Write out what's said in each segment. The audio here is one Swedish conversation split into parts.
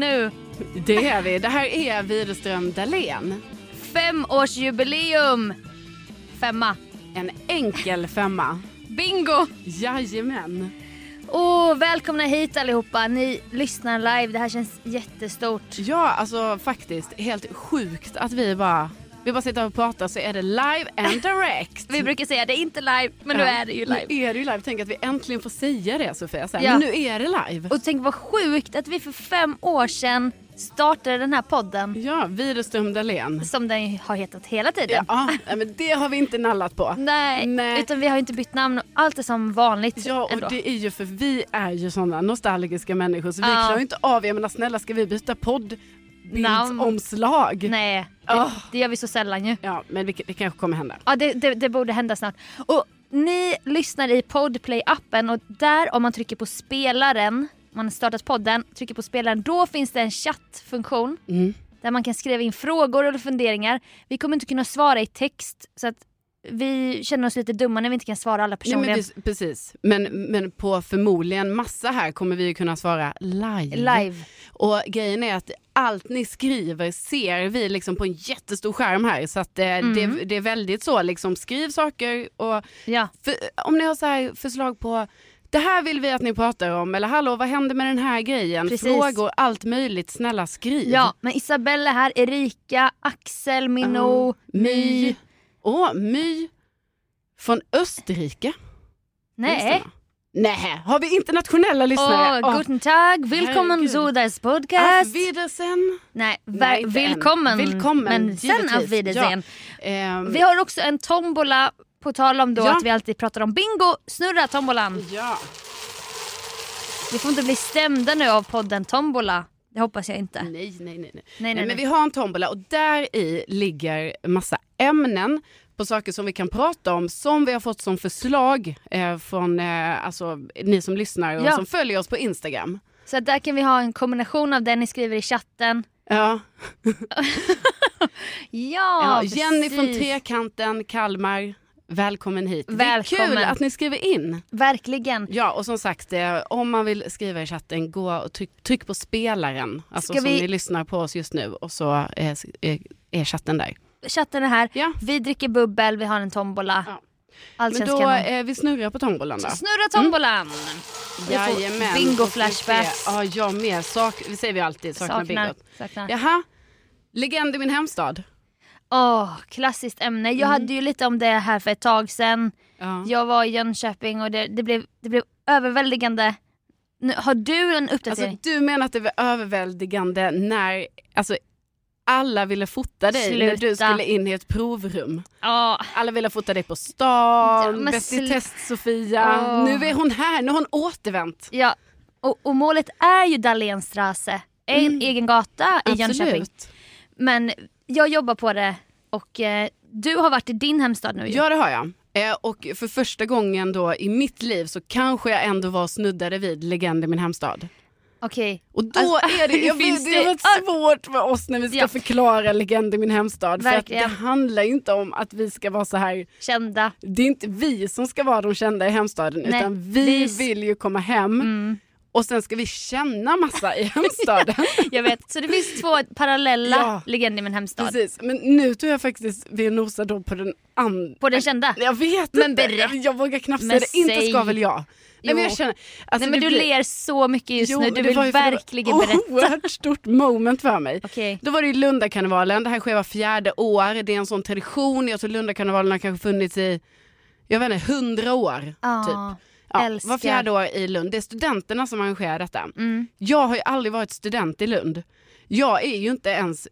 eh, Det är vi. Det här är Widerström Dahlén. Femårsjubileum! Femma. En enkel femma. Bingo! Jajamän. Och välkomna hit allihopa. Ni lyssnar live. Det här känns jättestort. Ja, alltså faktiskt helt sjukt att vi bara, vi bara sitter och pratar så är det live and direct. Vi brukar säga det är inte live, men nu är det ju live. Nu är det ju live. Tänk att vi äntligen får säga det Sofia. Så här, Ja. Men nu är det live. Och tänk vad sjukt att vi för fem år sedan startade den här podden. Ja, Widerström Dahlén. Som den har hetat hela tiden. Ja, nej, men det har vi inte nallat på. Nej, Nej. utan vi har ju inte bytt namn och allt är som vanligt Ja och ändå. det är ju för vi är ju sådana nostalgiska människor så vi Ja. klarar ju inte av, jag menar snälla ska vi byta Namn. poddbildsomslag? Nej, Ah. det, det gör vi så sällan ju. Ja men det, det kanske kommer hända. Ja, det, det, det borde hända snart. Och ni lyssnar i Podplay-appen och där om man trycker på spelaren, om man har startat podden, trycker på spelaren, då finns det en chattfunktion Mm. där man kan skriva in frågor eller funderingar. Vi kommer inte kunna svara i text så att vi känner oss lite dumma när vi inte kan svara alla Nej, personligen. men vi, precis, men, men på förmodligen massa här kommer vi ju kunna svara live. Live. Och grejen är att allt ni skriver ser vi liksom på en jättestor skärm här så att eh, Mm. det, det är väldigt så liksom skriv saker och Ja. För, om ni har så här förslag på det här vill vi att ni pratar om eller hallå vad hände med den här grejen? Precis. Frågor, allt möjligt, snälla skriv. ja, men Isabella är här, Erika, Axel, Minno, My. My. Åh, My från Österrike. Nej. Lyssnarna. Nej, har vi internationella lyssnare? Och guten Tag, willkommen herregud. Ah, zu das Auf Podcast. Wiedersehen. Nej, ver- Nej, inte än. välkommen. Willkommen, Men sen givetvis. av Wiedersehen. Ehm, Vi har också en tombola, på tal om då Ja. att vi alltid pratar om bingo. Snurra tombolan. ja. Vi får inte bli stämda nu av podden Tombola. Det hoppas jag inte. Nej, nej, nej. nej. nej, Mm. nej, nej. men vi har en tombola och där i ligger massa ämnen på saker som vi kan prata om som vi har fått som förslag eh, från eh, alltså, ni som lyssnar och Ja. som följer oss på Instagram. Så att där kan vi ha en kombination av det ni skriver i chatten. Ja, Ja, ja, Jenny från precis. Trekanten, Kalmar. Välkommen hit. Välkommen. Det är kul att ni skriver in. Verkligen. Ja, och som sagt, eh, om man vill skriva i chatten, gå och tryck, tryck på spelaren. Alltså Ska som vi- ni lyssnar på oss just nu och så eh, s- eh, är chatten där. Chatten är här. Ja. Vi dricker bubbel, vi har en tombola. Ja. Allt Men känns då, Mm. kanon. eh, vi snurrar på tombolan då. Snurra tombolan! Vi får Jajamän. bingo-flashbacks. Ja, jag med. Sak, vi säger vi alltid, saknar, Saknar. bingot. Saknar. Jaha, legend i min hemstad. Åh, klassiskt ämne. Mm. Jag hade ju lite om det här för ett tag sedan. Ja. Jag var i Jönköping och det, det, blev, det blev överväldigande. Nu, har du en Alltså, uppdatering? du menar att det var överväldigande när alltså, alla ville fota dig när du Sluta. skulle in i ett provrum. Ja, Alla ville fota dig på stan, Ja, men Bäst sl- i test-Sofia. Åh. Nu är hon här, nu har hon återvänt. ja. Och, och målet är ju Dahlénstrasse, en egen gata i Jönköping. Mm. Absolut. Men jag jobbar på det och eh, du har varit i din hemstad nu ju. Ja det har jag. Eh, Och för första gången då i mitt liv så kanske jag ändå var snuddade vid legend i min hemstad. Okej. Och då Alltså, är det, jag finns vet, det har det- varit svårt för oss när vi ska Ja. förklara legend i min hemstad. För Verkligen. att det handlar ju inte om att vi ska vara så här, Kända. det är inte vi som ska vara de kända i hemstaden Nej, utan vi, vi- Mm. vill ju komma hem och sen ska vi känna massa i hemstaden. Jag vet. Så det finns två parallella Ja. legender i min hemstad. Precis, men nu tror jag faktiskt vi nosar då på den andra. På den kända. Jag vet Men inte, berätta. jag, jag vågar knappt Men säga det. Inte säg. ska väl jag. Nej, men Jo. jag känner, Nej alltså, men det du blir- ler så mycket just Jo, nu. det Du vill var ju för Oh. det var verkligen berätta. oerhört stort moment för mig. Okej. Då var det ju Lundakarnevalen, det här sker var fjärde år, det är en sån tradition. Jag tror Lundakarnevalen har kanske funnits i, jag vet inte, hundra år. Ja, typ. Ja, älskar. var fjärde år i Lund. Det är studenterna som arrangerar detta. Mm. Jag har ju aldrig varit student i Lund. Jag är ju inte ens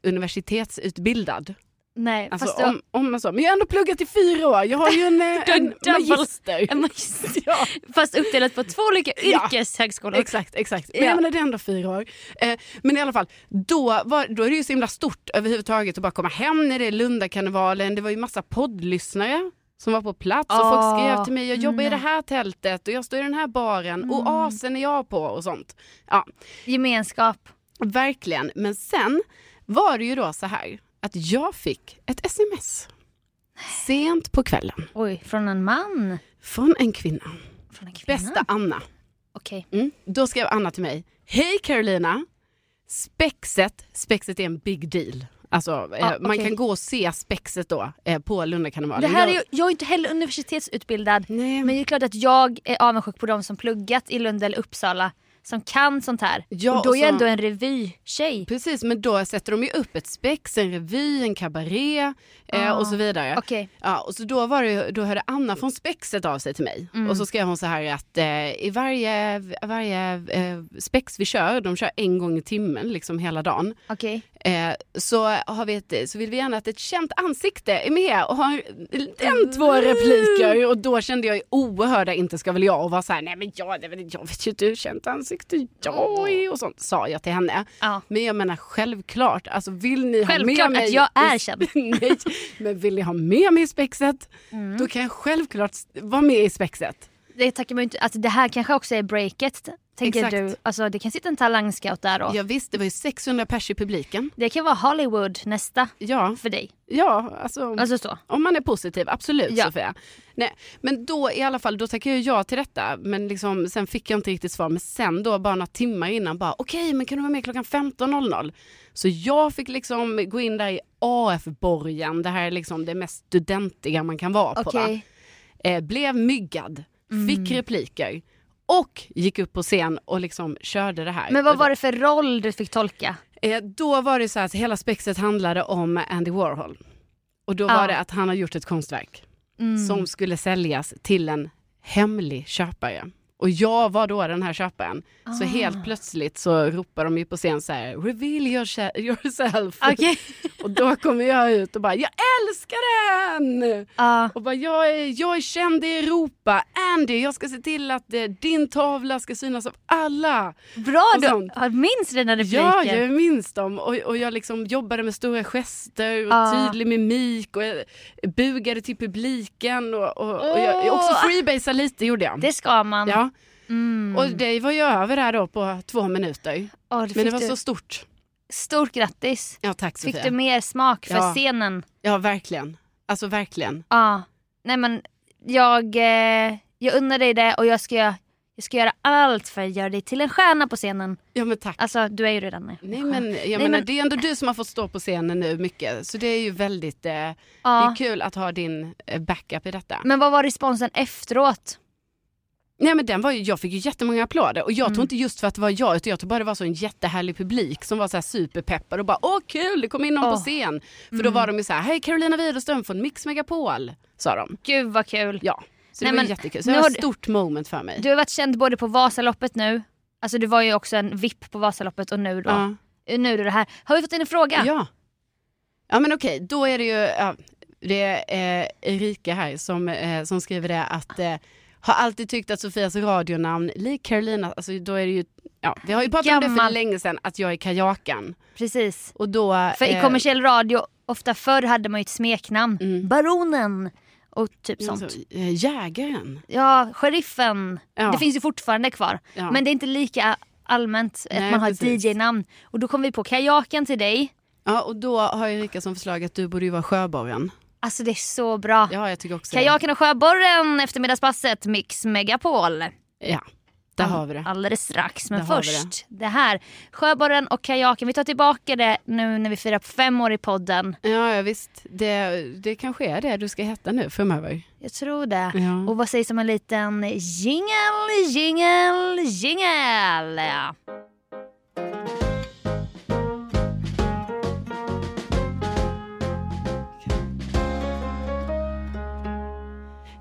universitetsutbildad. Nej, Alltså, fast du, om, om man så. Men jag har ändå pluggat i fyra år. Jag har ju en, eh, Du har en dubbel- magister. En magister. Ja. Fast uppdelat på två olika Ja. yrkeshögskolor. Exakt, exakt. Men Ja. jag menar det är ändå fyra år. Eh, men i alla fall, då, var, då är det ju så himla stort överhuvudtaget att bara komma hem när det är Lundakarnevalen. Det var ju massa poddlyssnare som var på plats och Ah, mm. folk skrev till mig, jag jobbar i det här tältet och jag står i den här baren och asen är jag på och sånt. Ja, Gemenskap. verkligen. Men sen var det ju då så här att jag fick ett sms sent på kvällen Oj, från en man? från en kvinna, Från en kvinna? bästa Anna. Okej. Mm. Då skrev Anna till mig. Hej Carolina! Spexet, spexet är en big deal. Alltså, eh, man okej. kan gå och se spexet då eh, på Lundakarnevalen. Det här är Jag- ju, jag är inte heller universitetsutbildad Nej, men det är klart att jag är avundsjuk på de som pluggat i Lund eller Uppsala som kan sånt här. Ja, och då är jag och ändå som- en revytjej. Precis, men då sätter de ju upp ett spex, en revy, en kabaré eh, Ah, och så vidare. Okej. Ja, och så då, var det, ju- då hörde Anna från Spexet av sig till mig Mm. och så skrev hon så här att eh, i varje, varje eh, spex vi kör, de kör en gång i timmen liksom hela dagen, Okej. eh, så, har vi ett, så vill vi gärna att ett känt ansikte är med och har den två repliker och då kände jag ju oerhörda inte ska väl jag och var så här nej men jag, det är väl- jag vet ju inte hur känt ansikte jag är och sånt sa jag till henne. Ja. Men jag menar självklart, alltså vill ni ha Självklart med mig... att jag är i- känd. Nej, men vill ni ha med mig i spexet, Mm. då kan jag självklart s- vara med i spexet. Det tackar man ju inte. Alltså, det här kanske också är breaket. Tänker Exakt. du? Alltså, det kan sitta en talangscout där och Ja, visst, det var ju 600 pers i publiken. det kan vara Hollywood nästa Ja, för dig. ja alltså, Alltså så. om man är positiv, absolut Ja. Sofia. Nej, men då i alla fall, då tackade jag ja till detta. Men liksom, sen fick jag inte riktigt svar. Men sen då, bara några timmar innan, bara okej, men kan du vara med klockan 15.00? Så jag fick liksom gå in där i AF-borgen. Det här är liksom det mest studentiga man kan vara på. Va? Okej. Mm. eh, blev myggad, fick repliker och gick upp på scen och liksom körde det här. Men vad var det för roll du fick tolka? Eh, då var det så att hela spexet handlade om Andy Warhol. Och då Ja. var det att han har gjort ett konstverk Mm. som skulle säljas till en hemlig köpare. Och jag var då den här köparen. Så helt plötsligt så ropar de ju på scen så här, reveal yourse- yourself. Ah, Okej. Och då kommer jag ut och bara, jag älskar den! Ja. Och bara, jag, är, jag är känd i Europa. Andy, jag ska se till att eh, din tavla ska synas av alla. Bra Och då! sånt. Ja, Minns dina repliker? Ja, jag minns dem. Och, och jag liksom jobbade med stora gester och Ah. tydlig mimik och jag bugade till publiken. Och, och, och jag, Åh. också freebasade lite gjorde jag. Det ska man. Ja. Mm. Och det var ju över där då på två minuter. Åh, det Men fick det var du. så stort. Stort grattis. Ja, tack Fick Sofia. du mer smak för Ja. scenen? Ja, verkligen. Alltså verkligen. Ja. Nej men jag, eh, jag unnar dig det och jag ska, jag ska göra allt för att göra dig till en stjärna på scenen. Ja, men tack. Alltså du är ju redan en Nej stjärna. men, jag menar, men- det är ändå du som har fått stå på scenen nu mycket. Så det är ju väldigt eh, Det ja. är kul att ha din eh, backup i detta. men vad var responsen efteråt? Nej, men den var ju, jag fick ju jättemånga applåder och Mm. jag tror inte just för att det var jag utan jag tror bara det var så en jättehärlig publik som var så här superpeppad och bara åh kul det kom in någon på Åh. Mm. scen. För då var de ju så här hej Carolina Widerström från Mix Megapol sa de. Gud vad kul. Ja, så Nej, det var men jättekul. Så nu det var har ett du- stort moment för mig. Du har varit känd både på Vasaloppet nu, alltså du var ju också en VIP på Vasaloppet och nu då. ja. Nu är du det här. Har vi fått in en fråga? ja. Ja men okej, då är det ju ja, det är, eh, Erika här som, eh, som skriver det att eh, har alltid tyckt att Sofias radionamn, lik Carolina, alltså då är det ju, ja, vi har ju pratat om det för Gammal. länge sedan, att jag är kajakan. Precis. Och då... För i eh, kommersiell radio, ofta förr hade man ju ett smeknamn. Mm. Baronen och typ sånt. alltså, eh, jägaren. Ja, sheriffen. Ja. Det finns ju fortfarande kvar. Ja. Men det är inte lika allmänt att Nej, man har ett precis. DJ-namn. Och då kom vi på kajaken till dig. Ja, och då har Erika som förslag att du borde ju vara sjöborren. Alltså det är så bra. Ja, jag tycker också det. Kajaken och sjöborren, eftermiddagspasset, Mix Megapol. Ja, där har vi det. Alldeles strax. Men Där har vi det. först, det. här. Sjöborren och kajaken. Vi tar tillbaka det nu när vi firar fem år i podden. Ja, ja visst. Det, det kanske är det du ska heta nu framöver. Jag tror det. Ja. Och vad sägs om en liten jingel, jingel, jingel?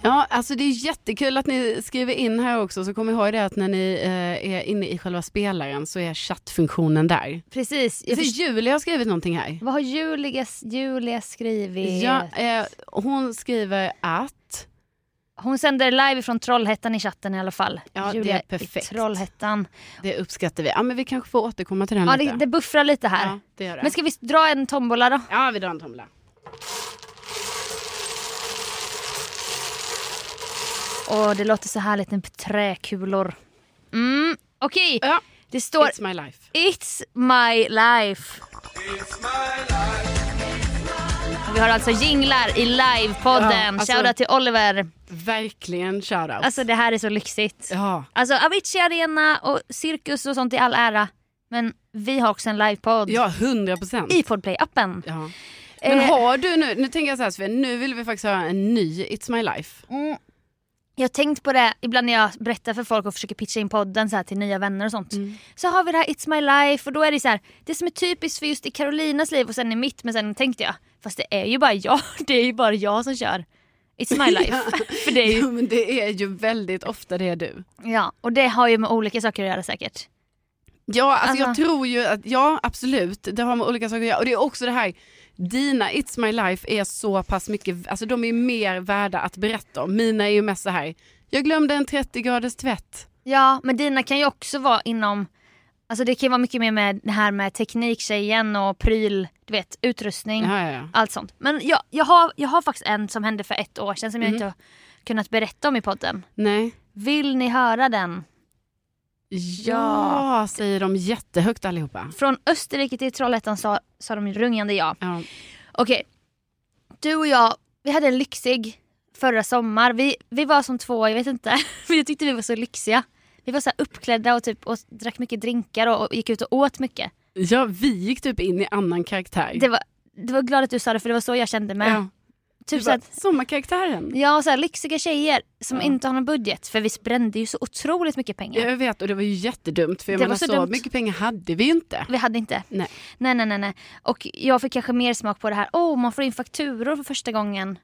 Ja, alltså det är jättekul att ni skriver in här också. Så kom ihåg det att när ni eh, är inne i själva spelaren så är chattfunktionen där. Precis. Jag Så förstår- Julia har skrivit någonting här. Vad har Julia, Julia skrivit? Ja, eh, hon skriver att... Hon sänder live från Trollhättan i chatten i alla fall. Ja, det Julia är perfekt. I Trollhättan. Det uppskattar vi. Ja, men vi kanske får återkomma till den Ja, lite. det, det buffrar lite här. Ja, det gör det. Men ska vi dra en tombola då? Ja, vi drar en tomla. Åh, det låter så härligt med träkulor. Mm, okej. Ja, Det står it's my life. It's my life. Vi har alltså jinglar i livepodden. Ja, alltså- Shoutout till Oliver. Verkligen shoutout. Alltså det här är så lyxigt. ja. Alltså Avicii Arena och cirkus och sånt i all ära. Men Men vi har också en livepodd Ja, 100 procent. i Podplay-appen. Ja. Men Eh, har du nu, nu tänker jag så här Sofia, nu vill vi faktiskt höra en ny It's My Life. Mm. Jag har tänkt på det ibland när jag berättar för folk och försöker pitcha in podden så här till nya vänner och sånt. Så har vi det här It's My Life och då är det så här, det som är typiskt för just i Carolinas liv och sen i mitt men sen tänkte jag, fast det är ju bara jag, det är ju bara jag som kör It's My Life. för det är ju, Jo, men det är ju väldigt ofta det är du. ja, och det har ju med olika saker att göra säkert. Ja, alltså, jag Alltså- tror ju att, ja absolut, det har med olika saker att göra. Och det är också det här, dina It's My Life är så pass mycket, alltså de är mer värda att berätta om. Mina är ju mest så här, jag glömde en 30 graders tvätt. Ja, men dina kan ju också vara inom, alltså det kan ju vara mycket mer med det här med tekniktjejen och pryl, du vet utrustning. Ja, ja, ja. Allt sånt. Men jag, jag, har, jag har faktiskt en som hände för ett år sedan som jag Mhm. inte har kunnat berätta om i podden. Nej. Vill ni höra den? Ja, säger de jättehögt allihopa. Från Österrike till Trollhättan sa, sa de rungande ja. Ja. Okej. Du och jag, vi hade en lyxig förra sommar. Vi, vi var som två, jag vet inte. Men jag tyckte vi var så lyxiga. Vi var så här uppklädda och, typ, och drack mycket drinkar och, och gick ut och åt mycket. ja, vi gick typ in i annan karaktär. Det var, det var glad att du sa det för det var så jag kände med. Mm. ja. typ så bara, att, sommarkaraktären. Ja, och så här, lyxiga tjejer som Ja. inte har någon budget. För vi brände ju så otroligt mycket pengar. Jag vet och det var ju jättedumt för jag Det menar, var så så, dumt. mycket pengar hade vi ju inte. Vi hade inte. Nej. nej, nej, nej, nej. Och jag fick kanske mer smak på det här. Åh, oh, man får in fakturor för första gången.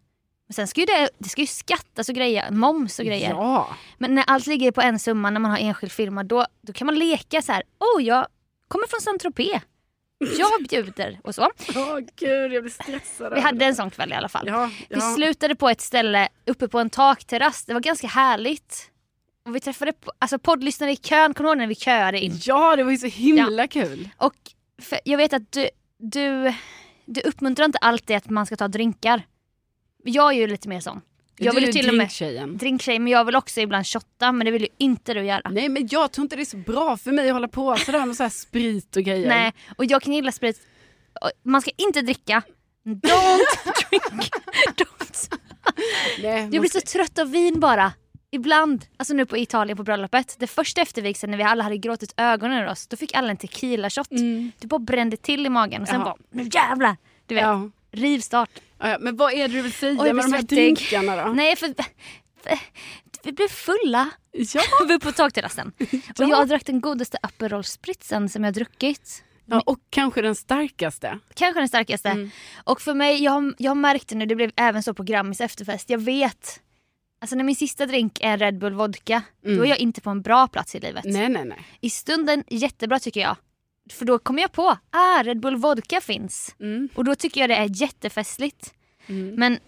Men sen ska ju det, det ska ju skattas och grejer. Moms och grejer. Ja, Men när allt ligger på en summa när man har enskild firma då, då kan man leka så här. Åh, oh, jag kommer från Saint-Tropez. Jag bjuder och så. åh gud jag blir stressad. Vi hade en sån kväll i alla fall. Ja, ja. Vi slutade på ett ställe uppe på en takterrass. Det var ganska härligt. Och vi träffade på, alltså poddlyssnare i kön. Kommer du ihåg när vi köade in? Ja, det var ju så himla kul. Och för jag vet att du, du, du uppmuntrar inte alltid att man ska ta drinkar. Jag är ju lite mer sån. Jag Du är vill ju ju till och med drinktjejen. drinktjej men jag vill också ibland shotta men det vill ju inte du göra. Nej men jag tror inte det är så bra för mig att hålla på sådär med så här sprit och grejer. Nej, och jag kan gilla sprit. Och Man ska inte dricka. Don't drink. Don't. Nej, Jag blir så trött av vin bara. Ibland, alltså nu på Italien på bröllopet, det första eftervigseln när vi alla hade gråtit ögonen ur oss, då fick alla en tequila-shot. Mm. Det bara brände till i magen och sen Jaha. bara, nu jävlar! Du vet, Ja. rivstart. Ja, ja, men vad är det du vill säga Oj, jag med blir de här svettig. drinkarna då? Nej, för, för vi blev fulla. Ja, Vi var på takterrassen. Och jag drack den godaste Aperol spritsen som jag druckit. ja, och kanske den starkaste. Kanske den starkaste. Och för mig, jag, har- jag har märkt det nu, det blev även så på Grammis efterfest. Jag vet. Alltså när min sista drink är en Red Bull vodka, då är jag inte på en bra plats i livet. Nej nej nej. I stunden jättebra tycker jag. För då kommer jag på, ah Red Bull vodka finns. Mm. Och då tycker jag det är jättefestligt. Men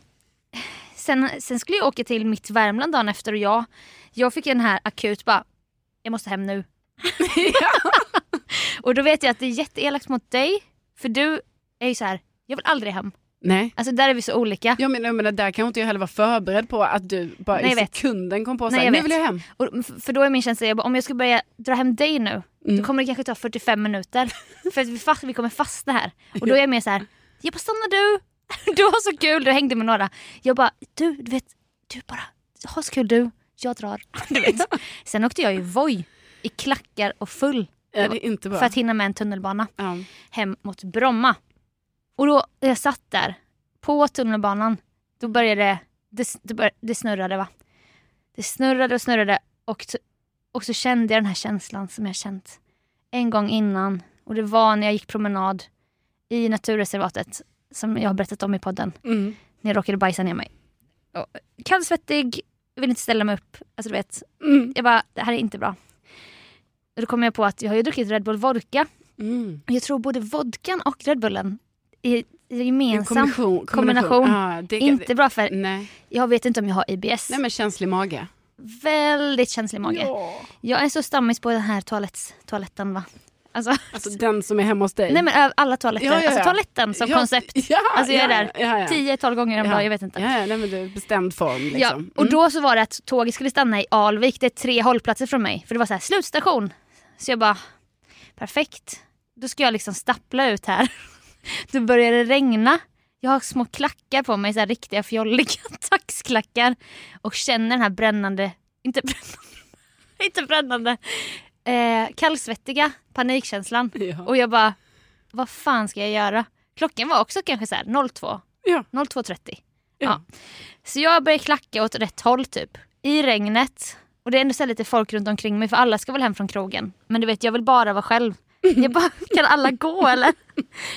sen, sen skulle jag åka till mitt Värmland dagen efter och jag, jag fick ju den här akut bara, jag måste hem nu. och då vet jag att det är jätteelakt mot dig, för du är ju så här, jag vill aldrig hem. Nej. Alltså där är vi så olika. Jag menar, jag menar där kan inte jag heller vara förberedd på att du bara Nej, jag i vet. sekunden kom på Nej, såhär, jag nu vet. vill jag hem. Och, f- för då är min känsla, jag bara, om jag ska börja dra hem dig nu, Mm. då kommer det kanske ta 45 minuter. för att vi, fast, vi kommer fastna här. Och då är jag mer så här, jag bara stanna du, du har så kul, du hängde med några. Jag bara, du, du vet, du bara, ha så kul du, jag drar. Du vet. Sen åkte jag ju Voi i klackar och full Ja, det är inte bra. för att hinna med en tunnelbana ja. hem mot Bromma. Och då, jag satt där på tunnelbanan, då började det, det, det, började, det snurrade va. Det snurrade och snurrade och, t- och så kände jag den här känslan som jag känt en gång innan. Och det var när jag gick promenad i naturreservatet som jag har berättat om i podden. Mm. När jag råkade bajsa ner mig. Och, kall, svettig, vill inte ställa mig upp. Alltså du vet, Mm. jag bara, det här är inte bra. Och då kom jag på att jag har ju druckit Red Bull Vodka Mm. jag tror både vodkan och Red Bullen är är En gemensam. kombination. kombination. Ja, det kan- Inte bra för Nej. jag vet inte om jag har IBS. nej men känslig mage. Väldigt känslig mage. Ja. Jag är så stammis på den här toalett, toaletten va. Alltså, Alltså den som är hemma hos dig. nej men ö- alla toaletter. Ja, ja, ja. Alltså toaletten som Ja, koncept. Ja, Alltså jag är ja, där ja, ja. 10-12 gånger om Ja. dagen, jag vet inte. Ja, ja, nej, men det är bestämd form liksom. Ja, Mm. och då så var det att tåget skulle stanna i Alvik, det är tre hållplatser från mig. För det var så här, slutstation. Så jag bara, perfekt. Då ska jag liksom stappla ut här. Då börjar det regna. Jag har små klackar på mig, så här riktiga fjolliga taxklackar. Och känner den här brännande, inte brännande, inte brännande, eh, kallsvettiga, panikkänslan. Ja. Och jag bara, vad fan ska jag göra? Klockan var också kanske så här 02, Ja. 02.30. Ja. Ja. Så jag började klacka åt rätt håll typ. I regnet. Och det är ändå så här lite folk runt omkring mig för alla ska väl hem från krogen. Men du vet jag vill bara vara själv. Jag bara, kan alla gå eller?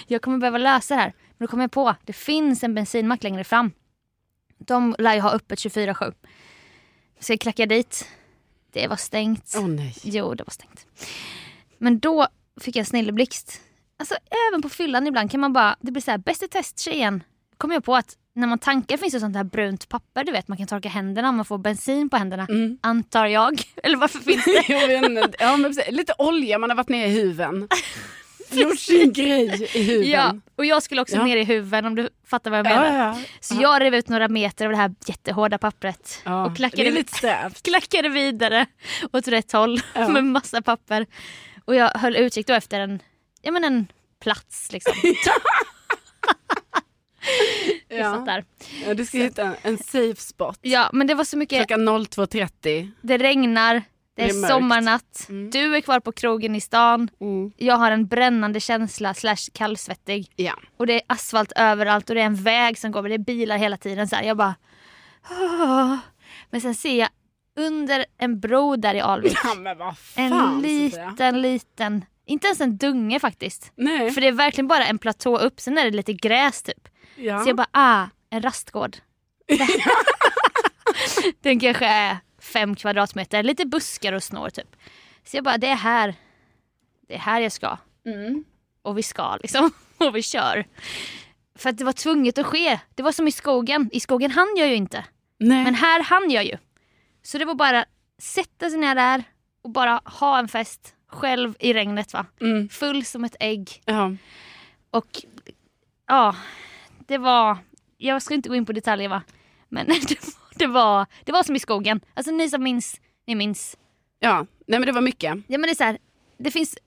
Jag kommer behöva lösa det här. Men då kom jag på, det finns en bensinmack längre fram. De lär ju ha öppet 24-7. Så jag klackade dit. Det var stängt. Åh nej. Jo, det var stängt. Men då fick jag en snilleblixt. Alltså även på fyllan ibland kan man bara, det blir så här, bäst i test tjejen. Kom jag på att när man tankar finns det sånt här brunt papper du vet man kan torka händerna om man får bensin på händerna. Mm. Antar jag. Eller varför finns det? Jag vet inte. ja, men precis. Lite olja man har varit ner i huven. Gjort sin grej i huven. Ja, och jag skulle också Ja. ner i huvudet om du fattar vad jag ja, menar. ja. Så jag rev ut några meter av det här jättehårda pappret. ja. Och klackade det är lite stävt. klackade vidare åt rätt håll Ja. med massa papper. Och jag höll utkik då efter en, ja, men en plats. Liksom. Jag satt Ja. där. Ja, du ska hitta en safe spot. Ja, men det var så mycket, Klockan 02.30. det regnar, det är, Det är mörkt. sommarnatt, Mm. du är kvar på krogen i stan, jag har en brännande känsla slash kallsvettig Ja. och det är asfalt överallt och det är en väg som går men det är bilar hela tiden. Så här. Jag bara... "Åh." Men sen ser jag under en bro där i Alvik ja men vad en fan Sofia. liten, liten, inte ens en dunge faktiskt. Nej. För det är verkligen bara en platå upp, sen är det lite gräs typ. Ja. Så jag bara, ah, en rastgård. Den kanske är fem kvadratmeter, lite buskar och snår typ. Så jag bara, det är här, det är här jag ska. Mm. Och vi ska liksom, och vi kör. För att det var tvunget att ske. Det var som i skogen, i skogen hann jag ju inte. Nej. Men här hann jag ju. Så det var bara sätta sig ner där och bara ha en fest själv i regnet va. Mm. Full som ett ägg. Ja. Och ja, det var... Jag ska inte gå in på detaljer va. Men det var, det var, det var som i skogen. Alltså ni som minns, ni minns. ja. Nej men det var mycket. Ja men det är så här, det finns...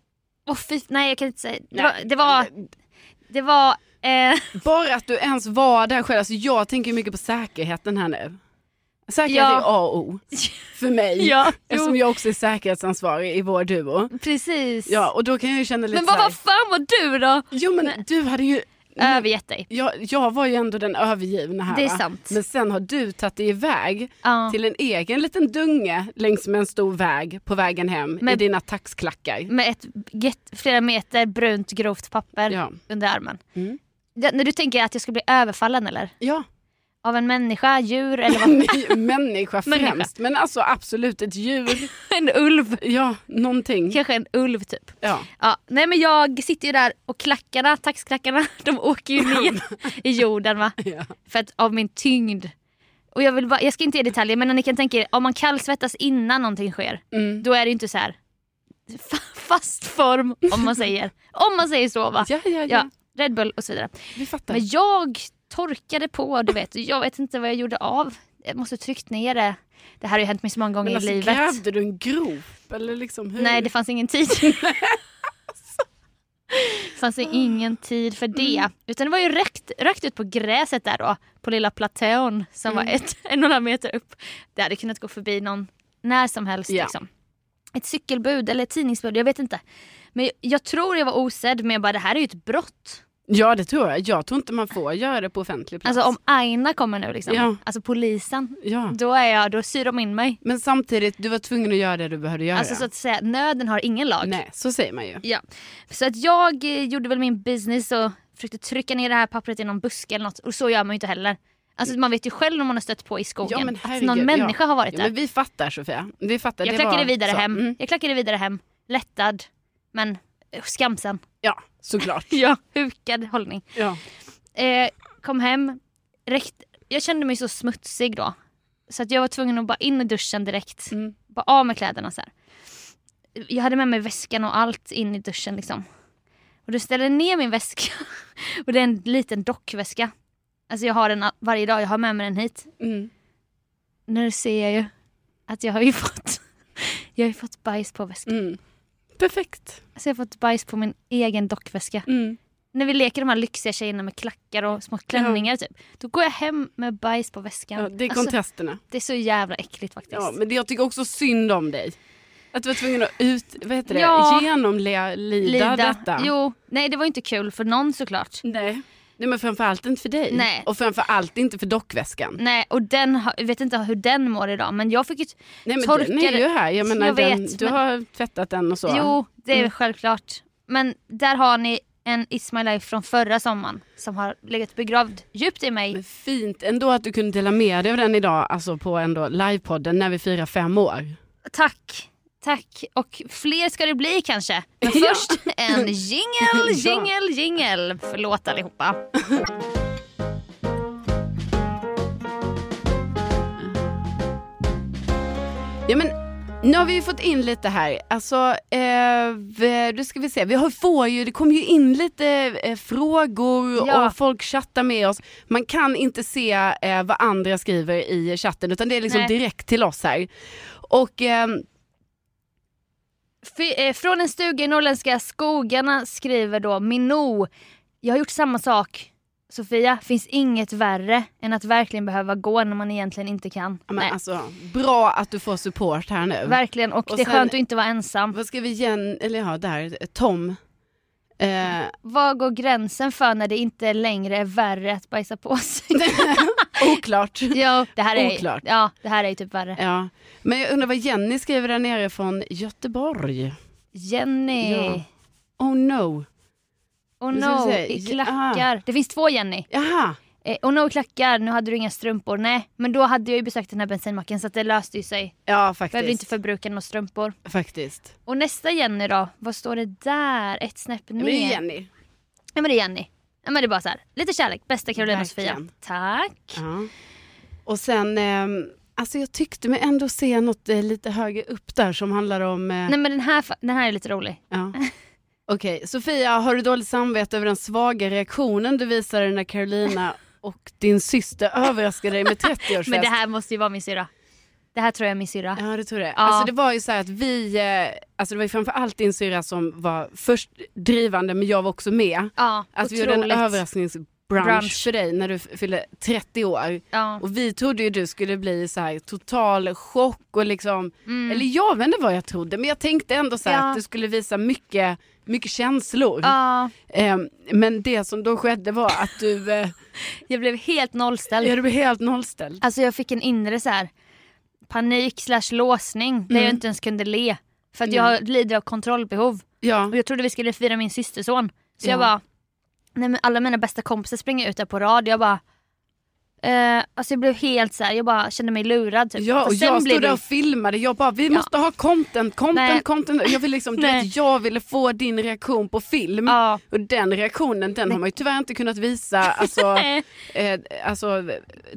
Åh fy, nej jag kan inte säga. Det Nej. var... Det var, det var eh, Bara att du ens var där själv. Alltså, jag tänker mycket på säkerheten här nu. Säkerhet Ja. är A och O för mig. ja, Eftersom jo, jag också är säkerhetsansvarig i vår duo. precis. Ja, och då kan jag ju känna lite men vad, så här- Mm. vad fan var du då? Jo men Nej. du hade ju... Övergett dig. Jag, jag var ju ändå den övergivna här Det är va? sant. Men sen har du tagit dig iväg Ja. till en egen liten dunge längs med en stor väg på vägen hem i Men- dina taxklackar. med ett get, flera meter brunt grovt papper Ja. under armen. Mm. Ja, när du tänker att jag ska bli överfallen eller? ja. Av en människa, djur eller vad? Ny- Människa Människa. främst. Men alltså absolut ett djur. en ulv. Ja, någonting. Mm. Kanske en ulv typ. Ja. Ja, nej men jag sitter ju där och klackarna, taxklackarna, de åker ju ner i jorden va. Ja. För att av min tyngd. Och jag, vill bara, jag ska inte ge detaljer men ni kan tänka er, om man kallsvettas innan någonting sker, Mm. då är det ju inte så här fa- fast form om man säger. om man säger så va. Ja, ja, ja, Ja, Red Bull och så vidare. Vi fattar. Men jag torkade på, du vet. Jag vet inte vad jag gjorde av. Jag måste ha tryckt ner det. Det här har ju hänt mig så många gånger Men alltså, i livet. grävde du en grop? Eller liksom hur? Nej, det fanns ingen tid. det fanns ju ingen tid för det. Mm. Utan det var ju rökt, rökt ut på gräset där då. På lilla platån som Mm. var ett, en och en halv meter upp. Det hade kunnat gå förbi någon när som helst. Ja. Liksom. Ett cykelbud eller ett tidningsbud, jag vet inte. Men jag, jag tror jag var osedd, men jag bara det här är ju ett brott. Ja, det tror jag. Jag tror inte man får göra det på offentlig plats. Alltså om Aina kommer nu liksom, Ja. Mm. alltså polisen, ja. då, är jag, då syr de in mig. Men samtidigt, du var tvungen att göra det du behövde göra. Alltså så att säga, nöden har ingen lag. Nej, så säger man ju. Ja. Så att jag eh, gjorde väl min business och försökte trycka ner det här pappret i någon buske eller något och så gör man ju inte heller. Alltså man vet ju själv om man har stött på i skogen Mm. Ja, men att herregud, någon ja. människa har varit Ja, där. men vi fattar Sofia. Vi fattar. jag det klackade var vidare så. hem. Mm. Jag klackade vidare hem. Lättad. Men eh, skamsen. Ja, såklart. Ja. Hukad hållning. Ja. Eh, kom hem. Räckt, jag kände mig så smutsig då. Så att jag var tvungen att bara in i duschen direkt. Mm. Bara av med kläderna så här. Jag hade med mig väskan och allt in i duschen liksom. Och du ställer jag ner min väska. och det är en liten dockväska. Alltså jag har den a- varje dag, jag har med mig den hit. Mm. Nu ser jag ju att jag har ju fått, jag har ju fått bajs på väskan. Mm. Perfekt. Alltså jag har fått bajs på min egen dockväska. Mm. När vi leker de här lyxiga tjejerna med klackar och små klänningar typ. Då går jag hem med bajs på väskan. Ja, det är alltså, kontrasterna. det är så jävla äckligt faktiskt. Ja, men det- jag tycker också synd om dig. Att du var tvungen att ut, vad heter det, Ja. genomlida detta. Jo, nej det var inte kul för någon såklart. Nej. Nej men framförallt inte för dig. Nej. Och framförallt inte för dockväskan. Nej, och den, har- jag vet inte hur den mår idag men jag fick ju... Nej men Torkar- den är ju här. Jag menar, Jag den, vet, du men- har tvättat den och så. Jo, det är Mm. självklart. Men där har ni en It's My Life från förra sommaren som har legat begravd djupt i mig. Men fint ändå att du kunde dela med dig av den idag, alltså på ändå livepodden när vi firar fem år. Tack, tack. Och fler ska det bli kanske. Men Ja. först en jingel, Ja. jingel, jingel. Förlåt allihopa. Ja men nu har vi ju fått in lite här. Alltså, eh, v- då ska vi se. Vi har, får ju, det kommer ju in lite eh, frågor Ja. och folk chattar med oss. Man kan inte se eh, vad andra skriver i chatten utan det är liksom Nej. direkt till oss här. Och ehm, Fy- eh, Från en stuga i norrländska skogarna skriver då Minou. Jag har gjort samma sak. Sofia, finns inget värre än att verkligen behöva gå när man egentligen inte kan. ja, men, Nej, alltså, bra att du får support här nu. verkligen, och, och det är sen- skönt att inte vara ensam. vad ska vi igen, eller ja där, Tom. Eh, Vad går gränsen för när det inte längre är värre att bajsa på sig? oklart. ja, det här är, Oklart. Ja, det här är ju typ värre. Ja. Men jag undrar vad Jenny skriver där nere från Göteborg. Jenny. Ja. Oh no. Oh Nu ska vi no, se. i Ja. klackar. Det finns två Jenny. Jaha. Eh, oh no, i klackar. Nu hade du inga strumpor. Nej, men då hade jag ju besökt den här bensinmacken så att det löste ju sig. Ja, faktiskt. Behövde inte förbruka några strumpor. faktiskt. Och nästa Jenny då, vad står det där? Ett snäpp ner. Men det är Jenny. Ja, men det är Jenny. Ja, men det är bara så här. Lite kärlek, bästa Carolina och Sofia. Verkligen. Tack. Ja. Och sen, ehm, alltså jag tyckte mig ändå se något eh, lite högre upp där som handlar om... Eh, Nej men den här, fa- den här är lite rolig. ja. Okej, Sofia, har du dåligt samvete över den svaga reaktionen du visade när Carolina och din syster överraskade dig med 30-årsfest? Men det här måste ju vara min syra. Det här tror jag är min syra. Ja det tror jag. Ja. Alltså det var ju så här att vi, eh, alltså det var ju framförallt din syrra som var först drivande men jag var också med. Ja, Att Alltså, vi otroligt. gjorde en överraskningsbrunch Brunch. för dig när du f- fyllde 30 år. Ja. Och vi trodde ju du skulle bli så här total chock och liksom, Mm. eller jag vet inte vad jag trodde men jag tänkte ändå så här Ja. att du skulle visa mycket, mycket känslor. ja, Ehm, men det som då skedde var att du, eh, jag blev helt nollställd. ja, du blev helt nollställd. Alltså jag fick en inre så här panik slash låsning där Mm. jag inte ens kunde le. För att jag lider av kontrollbehov. Ja. Och jag trodde vi skulle fira min systerson. Så jag Ja. bara, nej men alla mina bästa kompisar springer ut där på rad. Jag bara, eh, alltså jag blev helt så här, jag bara kände mig lurad typ. Ja, Fast och jag blev stod där vi- och filmade. Jag bara, vi Ja. måste ha content, content, Nej. content. Jag, vill liksom, du Nej. vet, jag ville få din reaktion på film. Ja. Och den reaktionen den har man ju tyvärr inte kunnat visa alltså, Nej. eh, alltså,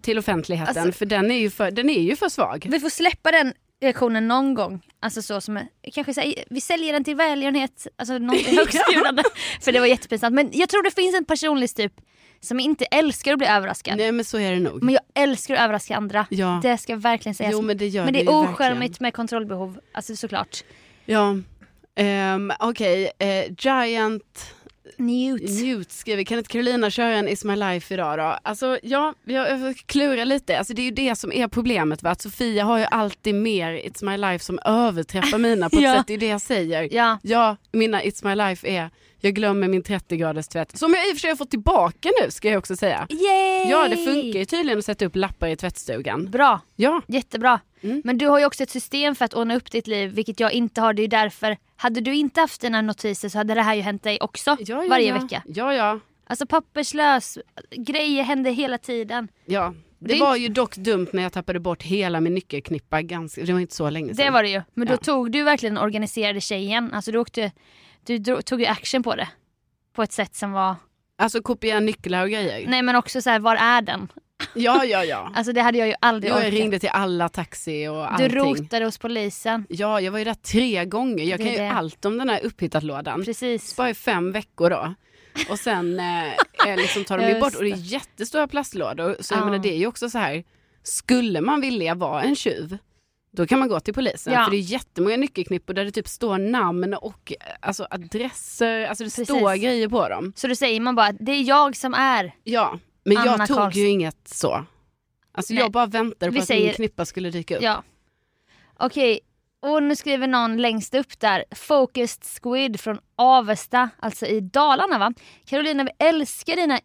till offentligheten. Alltså- för, den är ju för den är ju för svag. Vi får släppa den reaktionen någon gång. Alltså så som, kanske så här, vi säljer den till välgörenhet, alltså någonting högstbjudande. För det var jättepinsamt. Men jag tror det finns en personlig typ som inte älskar att bli överraskad. Nej men så är det nog. Men jag älskar att överraska andra. ja. Det ska verkligen sägas. jo men det gör men det ju är verkligen. ocharmigt med kontrollbehov, alltså såklart. Ja. Ehm, Okej, eh, Giant Njut. Newt skriver, kan inte Carolina köra en Is My Life idag då? Alltså ja, jag jag klurar lite. Alltså, det är ju det som är problemet. Va? Att Sofia har ju alltid mer It's My Life som överträffar mina på ett Ja. sätt. Det är det jag säger. Ja, Ja, mina It's My Life är jag glömmer min 30-graders tvätt. Som jag i och för sig har fått tillbaka nu ska jag också säga. yay! Ja, det funkar ju tydligen att sätta upp lappar i tvättstugan. Bra, Ja, jättebra. Mm. Men du har ju också ett system för att ordna upp ditt liv, vilket jag inte har. Det är ju därför, hade du inte haft dina notiser så hade det här ju hänt dig också ja, ja varje ja. vecka. Ja, ja. Alltså papperslös, grejer händer hela tiden. ja. Det Det är var ju dock dumt när jag tappade bort hela min nyckelknippa. Ganska, det var inte så länge sedan. Det var det ju. Men då Ja. tog du verkligen den organiserade tjejen. Alltså du, åkte, du dro- tog ju action på det. På ett sätt som var... Alltså kopiera nycklar och grejer. Nej men också så här, var är den? Ja, ja, ja. Alltså det hade jag ju aldrig Jo, jag orkat. ringde till alla taxi och Du allting. Mm. rotade hos polisen. Ja, jag var ju där tre gånger. Jag Det är kan ju det. allt om den här upphittarlådan. Precis. Sparar ju fem veckor då. Och sen eh, eh, liksom tar de ju Just bort. Och det är det. jättestora plastlådor. Så Ja. jag menar, det är ju också så här. Skulle man vilja vara en tjuv, då kan man gå till polisen. Ja. För det är jättemånga nyckelknippor där det typ står namn och eh, alltså, adresser. Alltså det Precis. står grejer på dem. Så då säger man bara att det är jag som är. Ja, men Anna jag tog Karlsson. ju inget så. Alltså Nej. jag bara väntade på Vi att säger- min knippa skulle dyka upp. Ja. Okej, Och nu skriver någon längst upp där, Focused Squid från Avesta, alltså i Dalarna va? Carolina vi älskar dina It's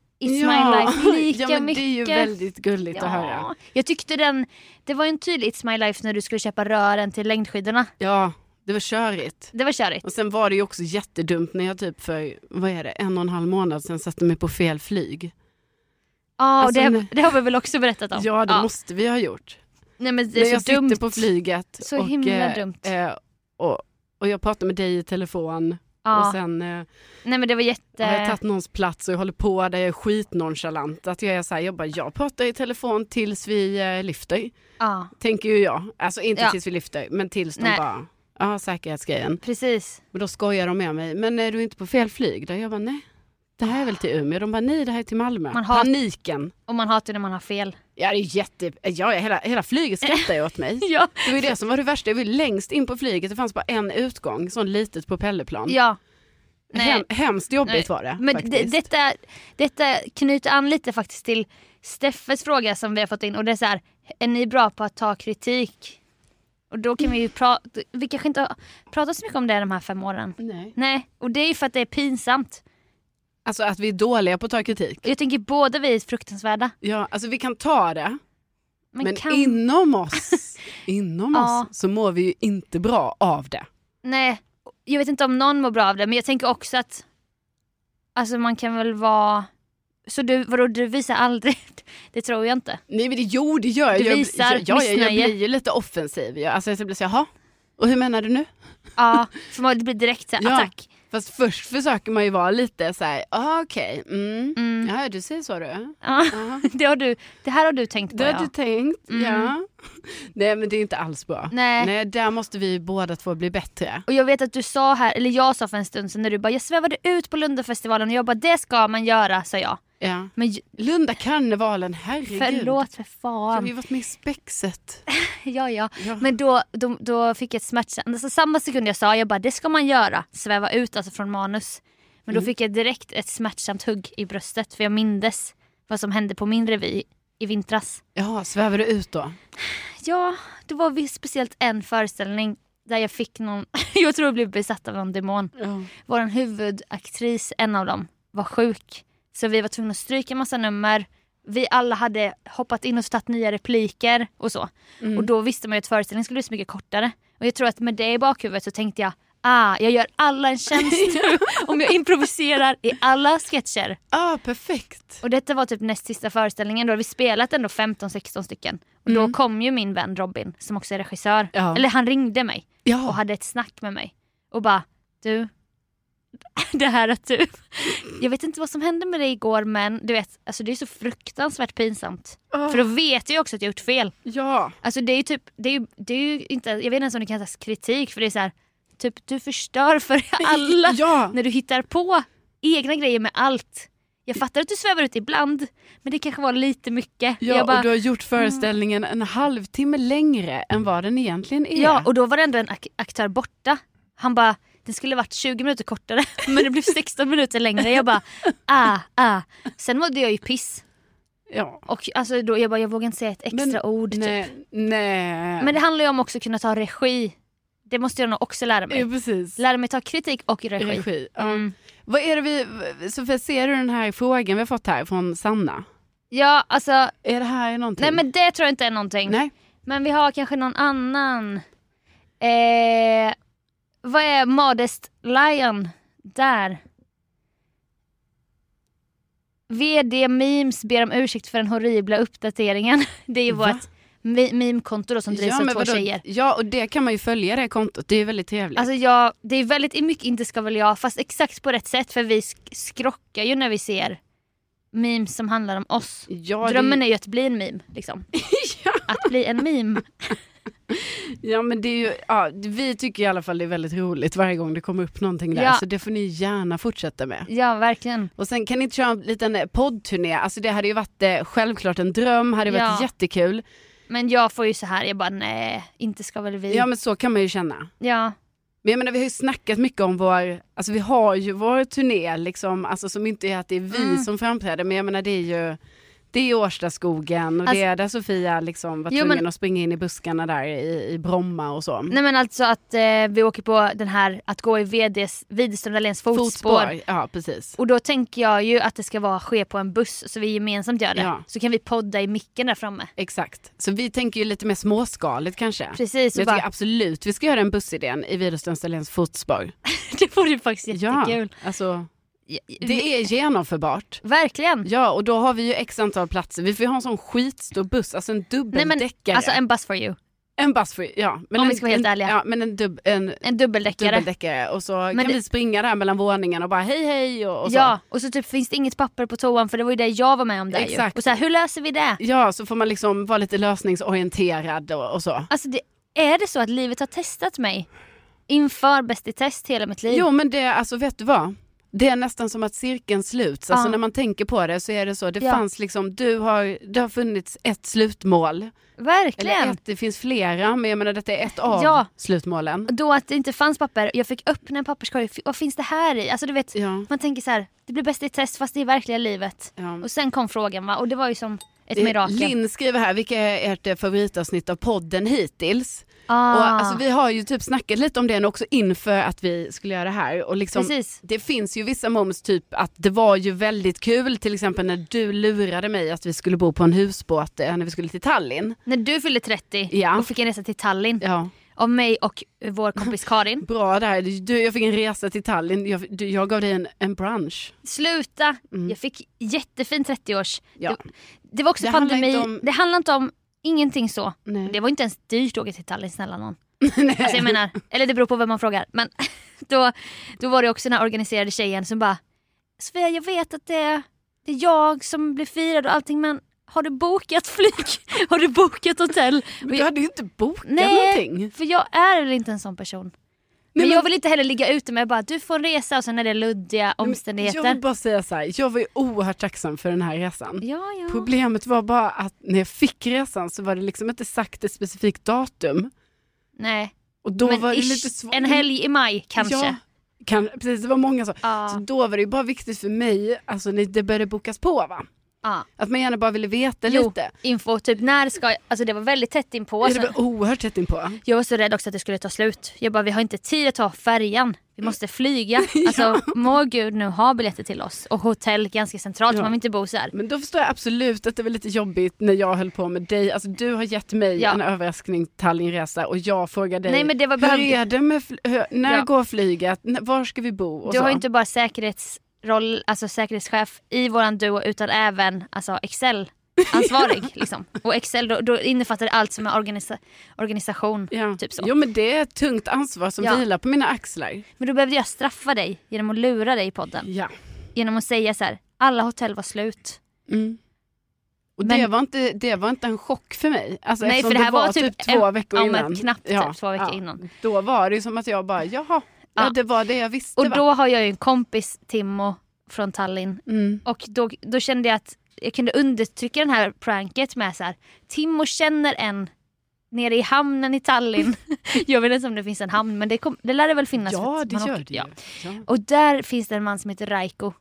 My Life lika ja, men mycket. Det är ju väldigt gulligt att höra. ja. Jag tyckte den, det var ju en tydlig It's My Life när du skulle köpa rören till längdskidorna. Ja, det var körigt. Det var körigt. Och sen var det ju också jättedumt när jag typ för, vad är det, en och en halv månad sedan satte mig på fel flyg. Ja, och Alltså, det, nu- det har vi väl också berättat om? Ja, det måste vi ha gjort. Nej men det När är jag så dumt. sitter på flyget Så och, himla eh, dumt. eh, och, och jag pratar med dig i telefon ja. och sen eh, Nej men det var jätte... har jag tagit någons plats och jag håller på där jag är skitnonchalant. Att jag är så här, jag bara, jag pratar i telefon tills vi eh, lyfter. ja, Tänker ju jag. Alltså inte Ja. tills vi lyfter, men tills Nej. de bara, ja säkerhetsgrejen. precis. Men då skojar de med mig, men är du inte på fel flyg? Där jag bara, nej. Det här är väl till Umeå? De bara, nej det här är till Malmö. Man har- Paniken. Och man hatar ju när man har fel. Ja, det är jätte... Ja, hela, hela flyget skrattar ju åt mig. Ja. Det var ju det som var det värsta. Jag var ju längst in på flyget. Det fanns bara en utgång. Sån litet propellerplan. ja. Nej. Hem, hemskt jobbigt Nej. var det. Men det, faktiskt. detta, detta knyter an lite faktiskt till Steffes fråga som vi har fått in och det är så här, är ni bra på att ta kritik? Och då kan vi ju prata, vi kanske inte har pratat så mycket om det de här fem åren. Nej. Nej, och det är ju för att det är pinsamt. Alltså att vi är dåliga på att ta kritik. Jag tänker båda vi är fruktansvärda. Ja, alltså vi kan ta det. Men, Men, kan... inom oss, inom Ja. oss så mår vi ju inte bra av det. Nej, jag vet inte om någon mår bra av det men jag tänker också att Alltså man kan väl vara Så du, vadå du visar aldrig? Det tror jag inte. Nej men det, jo det gör jag. Du jag, visar jag, jag, jag, jag missnöje. blir ju lite offensiv. Jag, alltså jag blir så här, jaha, och hur menar du nu? Ja, för man det blir direkt så här, Ja. attack. Fast först försöker man ju vara lite så här, ah, okej, mm. Mm. ja du säger så du. Ja. Ja. Det, har du, det här har du tänkt på Det har ja. du tänkt, Mm. ja. Nej men det är inte alls bra. Nej. Nej, där måste vi båda två bli bättre. Och jag vet att du sa här, eller jag sa för en stund sedan när du bara jag svävade ut på Lundafestivalen och jag bara det ska man göra sa jag. Ja. Men ju- Lunda karnevalen, herregud. förlåt för Har vi fan. varit med i spexet? Ja ja. Ja. Men då, då, då fick jag ett smärtsamt... Alltså, samma sekund jag sa jag bara det ska man göra, sväva ut alltså från manus. Men då Mm. fick jag direkt ett smärtsamt hugg i bröstet för jag mindes vad som hände på min revy i vintras. Ja, svävar du ut då? Ja, det var visst speciellt en föreställning där jag fick någon, jag tror jag blev besatt av någon demon. Ja. Vår huvudaktris, en av dem, var sjuk. Så vi var tvungna att stryka massa nummer. Vi alla hade hoppat in och tagit nya repliker och så. Mm. Och då visste man ju att föreställningen skulle bli så mycket kortare. Och jag tror att med det i bakhuvudet så tänkte jag ah, jag gör alla en tjänst nu om jag improviserar i alla sketcher. Ah, perfekt. Och detta var typ näst sista föreställningen. Då hade vi spelat ändå 15-16 stycken. Och då kom ju min vän Robin som också är regissör. Mm. Ja. Eller han ringde mig och Ja. hade ett snack med mig och bara du, det här att du, jag vet inte vad som hände med dig igår men du vet, alltså det är så fruktansvärt pinsamt. Ah, För då vet jag ju också att jag gjort fel. ja. Alltså det är ju typ, det är ju, det är ju inte, jag vet inte ens om det kan kallas kritik för det är så här, typ du förstör för alla Ja. när du hittar på egna grejer med allt. Jag fattar att du svävar ut ibland men det kanske var lite mycket. Ja, jag bara, "Mm." och du har gjort föreställningen en halvtimme längre än vad den egentligen är. Ja, och då var det ändå en ak- aktör borta. Han bara, den skulle varit 20 minuter kortare men det blev 16 minuter längre. Jag bara, ah, ah. Sen mådde jag ju piss. Ja. Och alltså, då, jag bara, jag vågar inte säga ett extra ord. Typ. Nej, nej. Men det handlar ju om också att kunna ta regi. Det måste jag nog också lära mig. ja, precis. Lära mig ta kritik och regi. Regi. Ja. Mm. Vad är det vi, Sofia, ser du den här frågan vi har fått här från Sanna? Ja, alltså, Är det här någonting? nej men det tror jag inte är någonting. Nej. Men vi har kanske någon annan. Eh, vad är Modest Lion där? VD Memes ber om ursäkt för den horribla uppdateringen. Det är ju Va? vårt mi- meme-konto då som drivs av två vadå? tjejer. Ja, och det kan man ju följa det kontot. Det är ju väldigt trevligt. Alltså jag, det är väldigt mycket inte ska väl jag, fast exakt på rätt sätt för vi sk- skrockar ju när vi ser memes som handlar om oss. ja, Drömmen det, är ju att bli en meme liksom. Att bli en meme. ja, men det är ju, ja, vi tycker i alla fall det är väldigt roligt varje gång det kommer upp någonting där. Ja. Så det får ni gärna fortsätta med. Ja verkligen. Och sen kan ni inte köra en liten eh, poddturné. Alltså det hade ju varit eh, självklart en dröm, hade varit Ja. Mm. jättekul. Men jag får ju så här, jag bara nej, inte ska väl vi. Ja men så kan man ju känna. Ja. Men jag menar vi har ju snackat mycket om vår, alltså vi har ju vår turné liksom, alltså som inte är att det är vi Mm. som framträder men jag menar det är ju, Det är Årstaskogen och Alltså- det är där Sofia liksom var Jo, tvungen men- att springa in i buskarna där i, i Bromma och så. Nej men alltså att eh, vi åker på den här att gå i VDs, Widerström Dahléns fotspår. Ja, precis. Och då tänker jag ju att det ska vara, ske på en buss så vi gemensamt gör det. Ja. Så kan vi podda i micken där framme. Exakt. Så vi tänker ju lite mer småskaligt kanske. Precis, och Men jag bara, tycker absolut vi ska göra en bussidén i Widerströms Dahléns fotspår. det vore ju faktiskt jättekul. alltså Ja. det är genomförbart. Verkligen. Ja, och då har vi ju x antal platser. Vi får ju ha en sån skitstor buss, alltså en dubbeldäckare. Alltså en bus for you. En buss för, ja. Men Om en, vi ska vara helt en, ärliga. Ja, men en, dubb, en En dubbeldäckare. dubbeldäckare. Och så Men kan det- vi springa där mellan våningarna och bara hej hej och, och så. Ja, och så typ finns det inget papper på toan för det var ju det jag var med om där ju. Exakt. Och så här, hur löser vi det? ja, så får man liksom vara lite lösningsorienterad och, och så. Alltså det, är det så att livet har testat mig? Inför Bäst i test hela mitt liv. Jo men det, alltså vet du vad? Det är nästan som att cirkeln sluts. Alltså Ja. när man tänker på det så är det så. Det Ja. fanns liksom, du har, det har funnits ett slutmål. Eller Verkligen. ett, det finns flera, men jag menar detta är ett av Ja. slutmålen. Och Då att det inte fanns papper, jag fick öppna en papperskorg, F- vad finns det här i? Alltså du vet, Ja. man tänker så här, det blir Bäst i test fast det är verkliga livet. Ja. Och sen kom frågan va, och det var ju som ett mirakel. Linn skriver här, vilka är ert eh, favoritavsnitt av podden hittills? ah, Och, alltså, vi har ju typ snackat lite om det nu också inför att vi skulle göra det här. Och liksom, Precis. det finns ju vissa moments, typ att det var ju väldigt kul, till exempel när du lurade mig att vi skulle bo på en husbåt eh, när vi skulle till Tallinn. När du fyllde 30 Ja. och fick en resa till Tallinn Ja, av mig och vår kompis Karin. bra där. Du, jag fick en resa till Tallinn, jag, du, jag gav dig en, en brunch. Sluta! Jag fick jättefin 30-års... Mm. Ja. Det, det var också Det handlar pandemi, inte om- det handlar inte om ingenting så. Nej. Det var inte ens dyrt att åka till Tallinn snälla någon. Nej. Alltså jag menar, eller det beror på vem man frågar. Men då, då var det också den här organiserade tjejen som bara Sofia jag vet att det, det är jag som blir firad och allting men har du bokat flyg? Har du bokat hotell? Och Du jag, hade ju inte bokat Nej. någonting. för jag är väl inte en sån person. Men, men- jag vill inte heller ligga ute med bara du får en resa och sen är det luddiga omständigheter. Jag vill bara säga så här, jag var ju oerhört tacksam för den här resan. Ja, ja. Problemet var bara att när jag fick resan så var det liksom inte sagt ett specifikt datum. Nej. Och då men var det ish, lite svårt. en helg i maj kanske. Ja, kan, precis, det var många så. Ja. Så då var det ju bara viktigt för mig, alltså när det började bokas på va? Ja. Att man gärna bara ville veta Jo, lite. info, typ när ska jag, alltså det var väldigt tätt inpå. Ja, så- Det var oerhört tätt inpå. Jag var så rädd också att det skulle ta slut. Jag bara, vi har inte tid att ta färjan. Vi måste flyga. Alltså, må gud nu ha biljetter till oss. Och hotell ganska centralt, Ja. man vill inte bo så här. Men då förstår jag absolut att det var lite jobbigt när jag höll på med dig. Alltså du har gett mig Ja. en överraskning Tallinnresa och jag frågar dig, Nej, men det var hur bara- är det med, fl- hur, när Ja. går flyget, N- var ska vi bo och Du så. har ju inte bara säkerhetsroll, alltså säkerhetschef i våran duo utan även alltså Excel ansvarig liksom. Och Excel då, då innefattar det allt som är organisa- organisation. Ja. Typ så. Jo men det är ett tungt ansvar som Ja. vilar på mina axlar. Men då behövde jag straffa dig genom att lura dig i podden. Ja. Genom att säga så här, alla hotell var slut. Mm. Och Men- det, var inte, det var inte en chock för mig. Alltså, Nej, eftersom för det här var typ två en- veckor ja, men innan. knappt typ två veckor innan. Då var det ju som att jag bara, jaha, ja. Ja. det var det jag visste. Och va? då har jag ju en kompis, Timmo, från Tallinn mm. Och då, då kände jag att jag kunde undertrycka den här pranket med så här, Timmo känner en nere i hamnen i Tallinn. jag vet inte om det finns en hamn men det, kom, det lär det väl finnas. för Ja, att det man gör åker- det ju. ja. Ja. Och där finns det en man som heter Raiko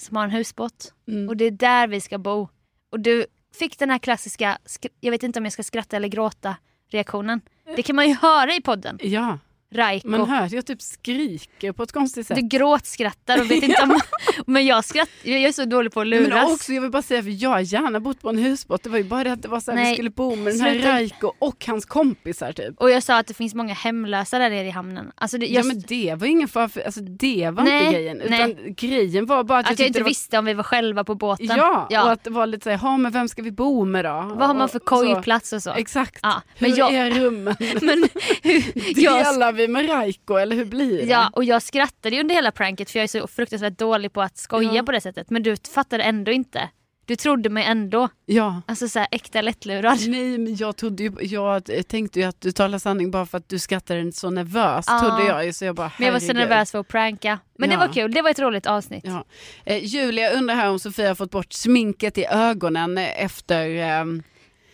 som har en husbåt. Mm. Och det är där vi ska bo. Och du fick den här klassiska, skr- jag vet inte om jag ska skratta eller gråta reaktionen. Det kan man ju höra i podden. ja, Raiko. man hör att jag typ skriker på ett konstigt sätt. Du gråtskrattar och vet inte om... Men jag skrattar, jag är så dålig på att luras. Men också, jag vill bara säga, för jag har gärna bott på en husbåt. Det var ju bara det att det var så här, Nej, vi skulle bo med den här sluta. Raiko och hans kompisar typ. Och jag sa att det finns många hemlösa där nere i hamnen. Alltså det, Ja jag, men det var ingen fara, för, alltså, det var Nej, inte grejen. Utan nej. grejen var bara att, att tyckte jag inte det var visste om vi var själva på båten. Ja, och att det var lite såhär, ja men vem ska vi bo med då? Vad har man för Och- och så. kojplats och så? Exakt. Ja, Hur men jag- är rummen? Men, hur- jag, Delar vi med Raiko eller hur blir det? ja, och jag skrattade ju under hela pranket för jag är så fruktansvärt dålig på att skoja Ja. på det sättet. Men du fattade ändå inte. Du trodde mig ändå. ja. Alltså så här, äkta lättlurad. Nej men jag, trodde ju, jag tänkte ju att du talar sanning bara för att du skrattade så nervöst Ja. trodde jag ju. Så jag bara, Men jag var så herregud. nervös för att pranka. Men Ja. det var kul, det var ett roligt avsnitt. Ja. Eh, Julia undrar här om Sofia har fått bort sminket i ögonen eh, efter eh,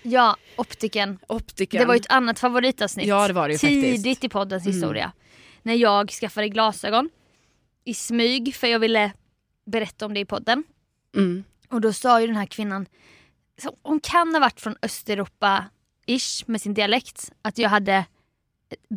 Ja, optiken. optiken. Det var ju ett annat favoritavsnitt. Ja, det var det ju Tidigt faktiskt. Mm. i poddens historia. När jag skaffade glasögon i smyg för jag ville berätta om det i podden. mm. Och då sa ju den här kvinnan så hon kan ha varit från Östeuropa-ish med sin dialekt. Att jag hade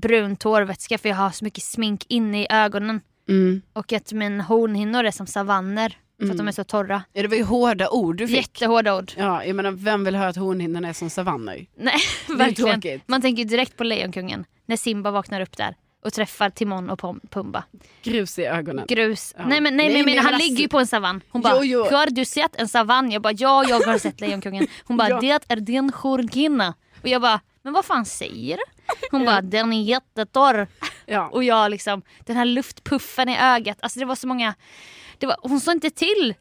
brunt hårvätska för jag har så mycket smink inne i ögonen. Mm. Och att mina hornhinnor är som savanner för Mm. att de är så torra. Ja, det var ju hårda ord du fick. Jättehårda ord. Ja, jag menar, vem vill höra att hornhinnorna är som savanner? Nej, är verkligen. tråkigt. Man tänker ju direkt på Lejonkungen när Simba vaknar upp där och träffar Timon och Pom- Pumba. Grus i ögonen. Grus. Ja. Nej men, nej, men Nej, jag menar, men han alltså- ligger ju på en savann. Hon Jo, bara, jo. har du sett en savann? Jag bara, ja jag har sett Lejonkungen. Hon bara, Ja. det är din jourkinna. Och jag bara, men vad fan säger du? Hon bara, den är jättetorr. Ja. Och jag liksom, den här luftpuffen i ögat. Alltså det var så många, det var, hon sa inte till.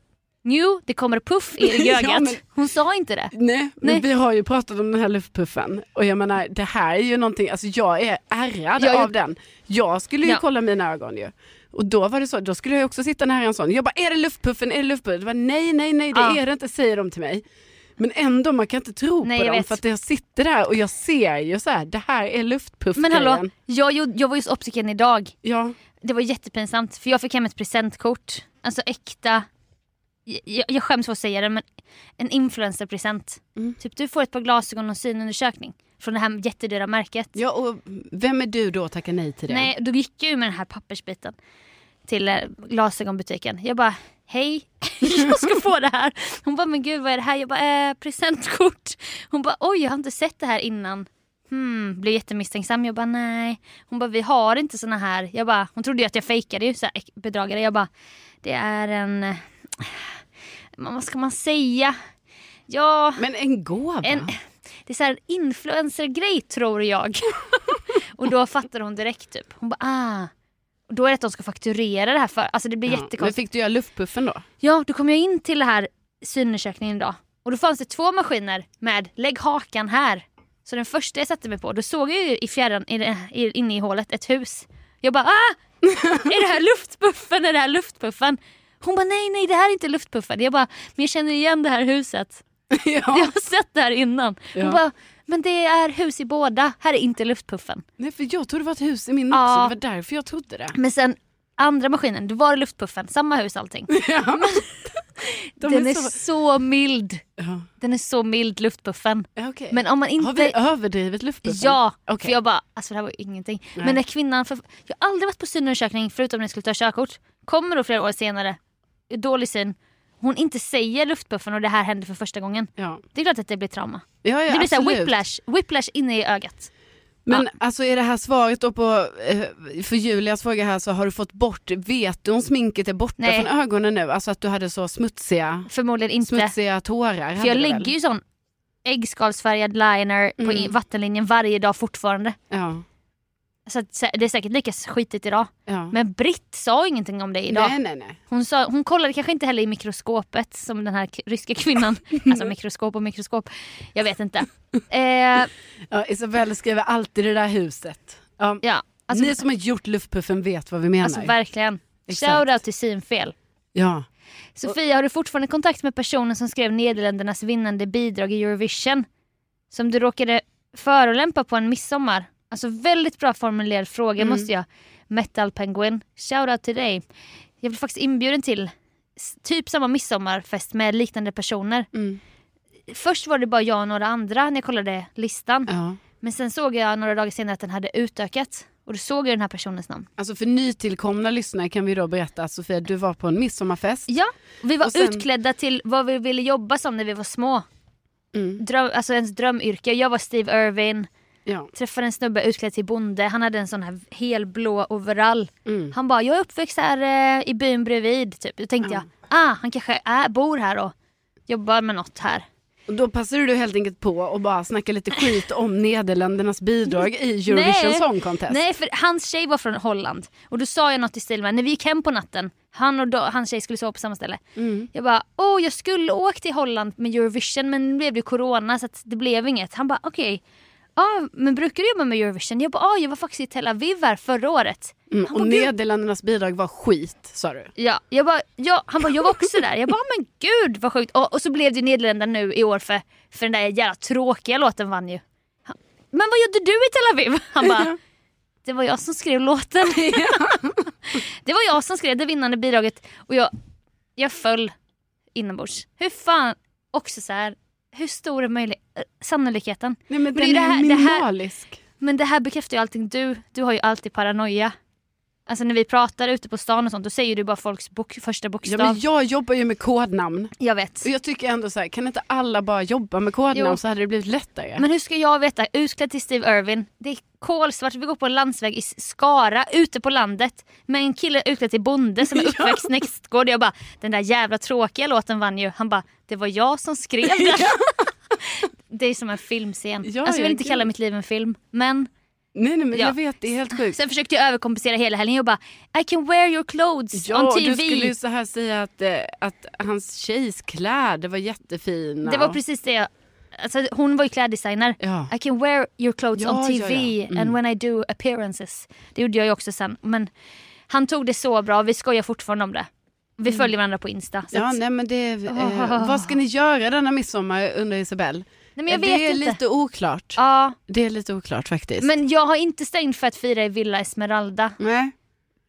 Jo, det kommer puff i Ja, ögat. men- Hon sa inte det. Nej, men Nej. vi har ju pratat om den här luftpuffen och jag menar det här är ju någonting, alltså jag är ärrad Jag är- av den. Jag skulle ju Ja. kolla mina ögon ju. Och då var det så, då skulle jag också sitta nära en sån. Jag bara, är det luftpuffen, är det luftpuffen? Det var nej, nej, nej, det Ja. är det inte, säger de till mig. Men ändå, man kan inte tro Nej, på jag dem vet. för att jag sitter där och jag ser ju så här, det här är luftpuff Men hallå, jag, gjorde- jag var just optiken idag. Ja, Det var jättepinsamt för jag fick hem ett presentkort. Alltså äkta, jag, jag skäms för att säga det men en influencerpresent. Mm. Typ du får ett par glasögon och synundersökning från det här jättedyra märket. ja, och vem är du då att tacka nej till det? Nej, då gick jag ju med den här pappersbiten till eh, glasögonbutiken. Jag bara, hej, jag ska få det här. Hon bara, men gud vad är det här? Jag bara, eh, presentkort. Hon bara, oj jag har inte sett det här innan. Hmm, blev jättemisstänksam. Jag bara, nej. Hon bara, vi har inte såna här. Jag bara, hon trodde ju att jag fejkade ju, så här, bedragare. Jag bara, det är en, eh, men vad ska man säga? Ja, Men en gåva? en, det är så här influencer-grej tror jag. och då fattar hon direkt typ. Hon bara ah. Och då är det att de ska fakturera det här för. Alltså det blir Ja, Men jättekonstigt. fick du göra luftpuffen då? Ja, då kom jag in till det här synundersökningen idag. Och då fanns det två maskiner med lägg hakan här. Så den första jag satte mig på, då såg jag ju i fjärran i, det- i, inne i hålet ett hus. Jag bara ah! Är det här luftpuffen? Är det här luftpuffen? Hon bara nej nej det här är inte luftpuffen. Jag bara men jag känner igen det här huset. Jag ja. har sett det här innan. Hon Ja. bara, men det är hus i båda. Här är inte luftpuffen. Nej, för jag trodde det var ett hus i min Ja. också, det var därför jag trodde det. Men sen andra maskinen, då var det luftpuffen. Samma hus allting. Ja. De Den är så- så... mild. Ja. Den är så mild luftpuffen. Ja, okej. Men om man Har vi inte... överdrivet luftbuffen? Ja, Okej. för jag bara, alltså det här var ju ingenting. Nej. Men när kvinnan, för... jag har aldrig varit på synundersökning förutom när jag skulle ta körkort. Kommer då flera år senare, dålig syn. Hon inte säger luftpuffen och det här händer för första gången. Ja. Det är klart att det blir trauma. Ja, ja, det blir såhär absolut. whiplash, whiplash inne i ögat. Men alltså är det här svaret då på, eh, för Julias fråga här så har du fått bort, vet du om sminket är borta Nej. från ögonen nu? Alltså att du hade så smutsiga, Förmodligen inte. smutsiga tårar? För hade jag du väl? lägger ju sån äggskalsfärgad liner på Mm. i- vattenlinjen varje dag fortfarande. Ja. Så att, sä- det är säkert lika skitigt idag. ja. Men Britt sa ingenting om det idag. Mm. Nej, nej, nej. Hon, sa, hon kollade kanske inte heller i mikroskopet som den här k- ryska kvinnan. alltså mikroskop och mikroskop. Jag vet inte. Eh, Ja, Isabelle skriver alltid det där huset. Ja. ja, alltså, Ni som har gjort luftpuffen vet vad vi menar. alltså verkligen. Exakt. Shoutout till synfel. ja. Sofia, har du fortfarande kontakt med personen som skrev Nederländernas vinnande bidrag i Eurovision? Som du råkade förolämpa på en midsommar? Alltså väldigt bra formulerad fråga Mm. måste jag. Metal Penguin, shoutout till dig. Jag blev faktiskt inbjuden till s- typ samma midsommarfest med liknande personer. Mm. Först var det bara jag och några andra när jag kollade listan. ja. Men sen såg jag några dagar senare att den hade utökats. Och då såg jag den här personens namn. Alltså för nytillkomna lyssnare kan vi då berätta att Sofia, du var på en midsommarfest. Ja, vi var Och sen- utklädda till vad vi ville jobba som när vi var små. Mm. dröm, alltså ens drömyrke. Jag var Steve Irwin, Ja. träffade en snubbe utklädd till bonde. Han hade en sån här helblå overall. Mm. Han bara, jag är uppväxt här eh, i byn bredvid. Typ. Då tänkte Ja. jag, ah, han kanske är, bor här och jobbar med något här. Och då passade du helt enkelt på och bara snacka lite skit om Nederländernas bidrag i Eurovision Nej. Song Contest. Nej, för hans tjej var från Holland. Och då sa jag något i stil med, när vi gick hem på natten, han och då, hans tjej skulle sova på samma ställe. Mm. Jag bara, åh jag skulle åkt till Holland med Eurovision men nu blev det corona så att det blev inget. Han bara, okej. Ja, men brukar du jobba med Eurovision? Jag bara, ja jag var faktiskt i Tel Aviv här förra året. Mm. Han Och bara, gud. Nederländernas bidrag var skit, sa du. Ja, jag bara, ja. Han bara, jag var också där. Jag bara, "Ah, men gud vad sjukt. Och, och så blev det Nederländerna nu i år för, för den där jävla tråkiga låten vann ju. Han, men vad gjorde du i Tel Aviv? Han bara, det var jag som skrev låten. det var jag som skrev det vinnande bidraget och jag, jag föll inombords. Hur fan, också så här, hur stor är möjlig- eh, sannolikheten? Nej, men, det den är det är här- det här- minimalisk. Men det här bekräftar ju allting. Du, du har ju alltid paranoia. Alltså när vi pratar ute på stan och sånt, då säger du bara folks bok, första Ja, bokstav. men jag jobbar ju med kodnamn. Jag vet. Och jag tycker ändå så här, kan inte alla bara jobba med kodnamn Jo. så hade det blivit lättare. Men hur ska jag veta? Utklädd till Steve Irwin. Det är kolsvart, vi går på en landsväg i Skara, ute på landet. Med en kille utklädd till bonde som är uppväxt nästgård. Jag bara, den där jävla tråkiga låten vann ju. Han bara, det var jag som skrev den. det är som en filmscen. Ja, alltså, jag ja, vill inte gud. kalla mitt liv en film. Men nej, nej men Ja. jag vet, det är helt sjukt. sen försökte jag överkompensera hela helgen. Jag bara, I can wear your clothes Ja, on TV. du skulle ju så här säga att, eh, att hans tjejs kläder var jättefina. Det var precis det jag... Alltså, hon var ju kläddesigner. Ja. I can wear your clothes Ja, on ja, TV ja. Mm. and when I do appearances. Det gjorde jag ju också sen. Men han tog det så bra vi skojar fortfarande om det. Vi följer varandra på Insta. Så Mm. Ja, att, nej, nej men det... Eh, Ah. vad ska ni göra denna midsommar undrar Isabelle. men jag det vet är inte. lite oklart. Ja, Det är lite oklart faktiskt. men jag har inte stängt för att fira i Villa Esmeralda. nej.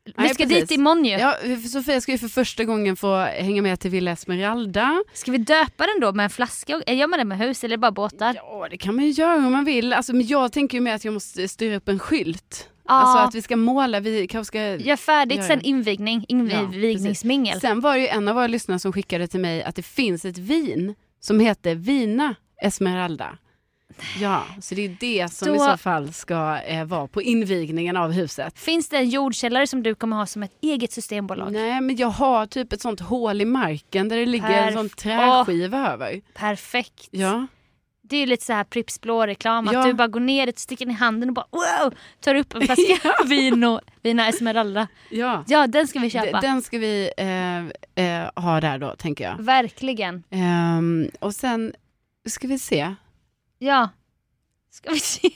Vi Nej, ska precis. dit imorgon ju. Ja, Sofia ska ju för första gången få hänga med till Villa Esmeralda. Ska vi döpa den då med en flaska? och- Gör man det med hus eller bara båtar? Ja, det kan man ju göra om man vill. Alltså, men jag tänker ju med att jag måste styra upp en skylt. Ja. Alltså att vi ska måla, vi kanske ska... Gör färdigt Gör sen det. invigning, Ja, invigningsmingel. Sen var det ju en av våra lyssnare som skickade till mig att det finns ett vin som heter Vina Esmeralda. Ja, så det är det som Då- i så fall ska eh, vara på invigningen av huset. Finns det en jordkällare som du kommer ha som ett eget systembolag? Nej, men jag har typ ett sånt hål i marken där det ligger en sån Perf- träskiva över. Perfekt. Ja. Det är ju lite så här Pripps blå-reklam. Ja. Att du bara går ner, sticker ner handen och bara wow! Tar upp en flaska vin och Vina Esmeralda. ja. Ja, den ska vi D- köpa. Den ska vi eh, eh, ha där då, tänker jag. Verkligen. Ehm, och sen ska vi se. Ja. Ska vi se.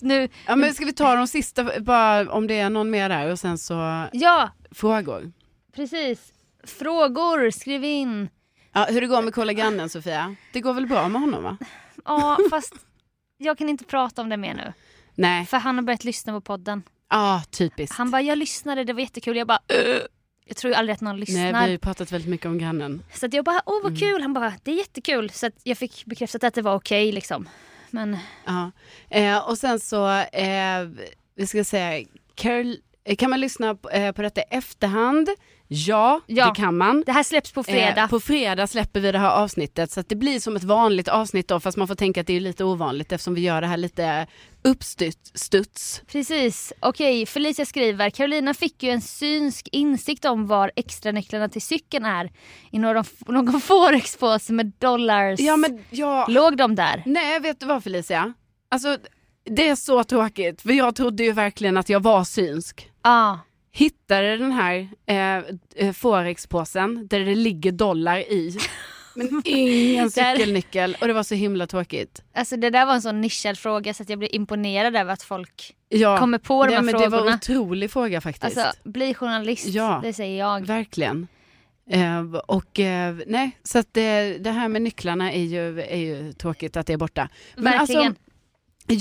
nu. Ja, men ska vi ta de sista, bara om det är någon mer där, och sen så Ja, frågor. precis. Frågor, skriv in. Ja, hur det går med Kolla grannen, Sofia? Det går väl bra med honom, va? Ja, fast jag kan inte prata om det mer nu. Nej, För han har börjat lyssna på podden. ah, typiskt. Han bara, jag lyssnade, det var jättekul. Jag bara, "Ugh." jag tror ju aldrig att någon lyssnar. Nej, vi Mm. har ju pratat väldigt mycket om grannen. Så att jag bara, åh vad kul. Han bara, det är jättekul. Så att jag fick bekräftat att det var okej liksom. Men Ja. Eh, och sen så, eh, vi ska säga, Carol, eh, kan man lyssna på, eh, på detta i efterhand? Ja, Ja. det kan man. det här släpps på fredag. Eh, på fredag släpper vi det här avsnittet så att det blir som ett vanligt avsnitt då fast man får tänka att det är lite ovanligt eftersom vi gör det här lite uppstuds. Precis. Okej, Felicia skriver. Carolina fick ju en synsk insikt om var extranycklarna till cykeln är i någon, någon forexpåse med dollars. Ja men ja, Låg de där? nej vet du vad Felicia? Alltså det är så tråkigt för jag trodde ju verkligen att jag var synsk. Ja. hittade den här eh, eh, forexpåsen där det ligger dollar i. Men ingen Där- cykelnyckel och det var så himla tråkigt. Alltså det där var en sån nischad fråga så att jag blev imponerad över att folk Ja, kommer på de nej, här men det frågorna. var en otrolig fråga faktiskt. alltså, bli journalist. Ja. Det säger jag. Verkligen. Eh, och eh, nej, så att eh, det här med nycklarna är ju, är ju tråkigt att det är borta. Men Verkligen. alltså,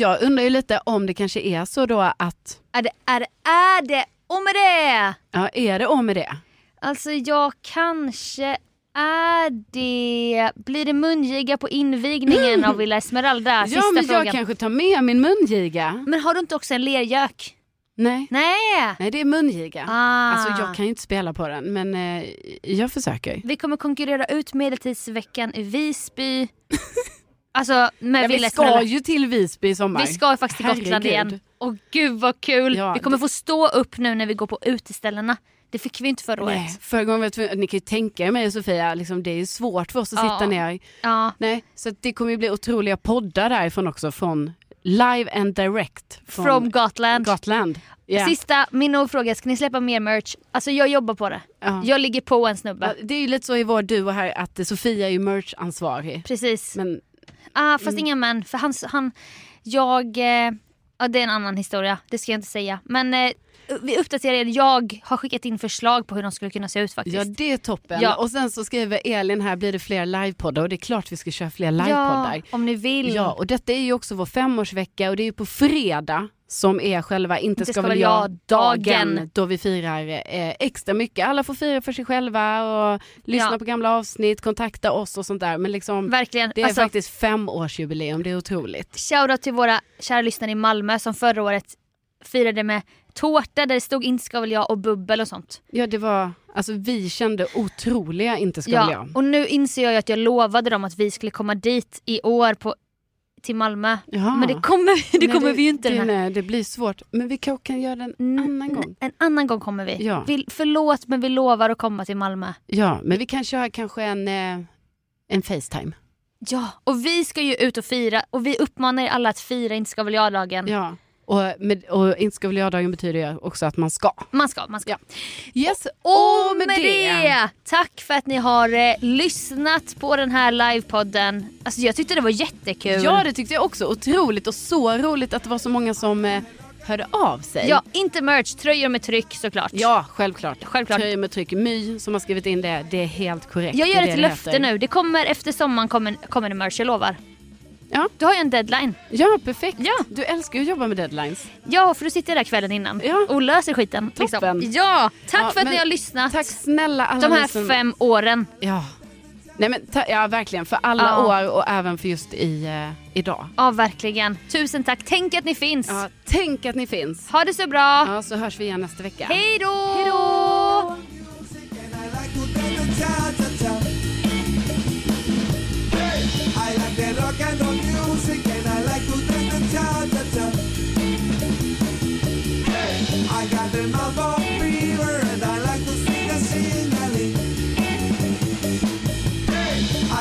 jag undrar ju lite om det kanske är så då att, Är det, är det, är det, och med det! ja är det om med det? Alltså jag kanske är det... Blir det mungiga på invigningen av Villa Esmeralda? Sista ja men frågan. jag kanske tar med min mungiga. Men har du inte också en lergök? Nej, Nej! nej det är mungiga. Ah. Alltså jag kan ju inte spela på den men eh, jag försöker. Vi kommer konkurrera ut medeltidsveckan i Visby. alltså med Ja, vi Villa ska Esmeralda. ju till Visby i sommar. Vi ska ju faktiskt till Gotland Herregud. igen. Och gud vad kul! Ja, vi kommer få stå upp nu när vi går på uteställena. Det fick vi inte förra året. Nej, förra gången var jag tvungen, ni kan ju tänka er mig och Sofia, liksom, det är ju svårt för oss att Ja. sitta ner. Ja, Nej, så att det kommer ju bli otroliga poddar därifrån också, från live and direct från from Gotland. Gotland. Ja. Sista, min och fråga, ska ni släppa mer merch? Alltså jag jobbar på det. Ja. Jag ligger på en Ja, snubbe. Det är ju lite så i vår duo här att eh, Sofia är ju merch-ansvarig. Precis. Men Ah, Mm. fast inga män, för han, han jag, eh, ja, det är en annan historia, det ska jag inte säga. Men eh, vi uppdaterar er. Jag har skickat in förslag på hur de skulle kunna se ut faktiskt. Ja det är toppen. Ja. Och sen så skriver Elin här, blir det fler livepoddar? Och det är klart vi ska köra fler livepoddar. om ni vill. Ja, och detta är ju också vår femårsvecka och det är ju på fredag som är själva inte ska, väl jag-dagen jag-dagen. då vi firar eh, extra mycket. Alla får fira för sig själva och lyssna Ja. på gamla avsnitt, kontakta oss och sånt där. Men liksom, Verkligen. det är alltså, faktiskt femårsjubileum, det är otroligt. Shoutout till våra kära lyssnare i Malmö som förra året firade med tårta där det stod inte ska väl jag och bubbel och sånt. Ja, det var, alltså vi kände otroliga inte ska Ja. väl jag. Och nu inser jag ju att jag lovade dem att vi skulle komma dit i år på, till Malmö. Jaha. Men det kommer, det Nej, kommer vi ju inte det, den här. Mm, Nej, det blir svårt. Men vi kanske kan göra det en N- annan gång. n- En annan gång kommer vi. Ja. vi. Förlåt men vi lovar att komma till Malmö. Ja, men vi kan köra kanske en, eh, en Facetime. Ja, och vi ska ju ut och fira och vi uppmanar er alla att fira inte ska väl jag-dagen. Ja. Och, med, och inte ska väl jag-dagen betyder ju också att man ska. Man ska, man ska. Ja. Yes, Och med det! Tack för att ni har eh, lyssnat på den här livepodden. Alltså jag tyckte det var jättekul. Ja, det tyckte jag också. Otroligt och så roligt att det var så många som eh, hörde av sig. ja inte merch, tröjor med tryck såklart. ja självklart. Självklart. Tröjor med tryck. My som har skrivit in det, det är helt korrekt. Jag Det gör är det ett det löfte heter. nu. Det kommer efter sommaren kommer, kommer det merch, jag lovar. Ja. Du har ju en deadline. Ja, perfekt. Ja. Du älskar ju att jobba med deadlines. Ja, för du sitter jag där kvällen innan Ja. och löser skiten. liksom. Toppen. Ja, tack Ja, för att men ni har lyssnat Tack snälla alla de ni här som... fem åren. Ja. Nej men ta- ja, verkligen för alla Ja. år och även för just i, eh, idag. Ja, verkligen. Tusen tack. Tänk att ni finns. Ja, tänk att ni finns. Ha det så bra. Ja, så hörs vi igen nästa vecka. Hej då! Hej då! And I like to tell you cha cha cha. I like the rock and roll music, and I like to tell you cha cha cha. I got the Mambo fever, and I like to sing a singing.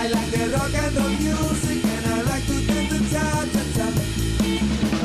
I like the rock and roll music, and I like to tell you cha cha cha.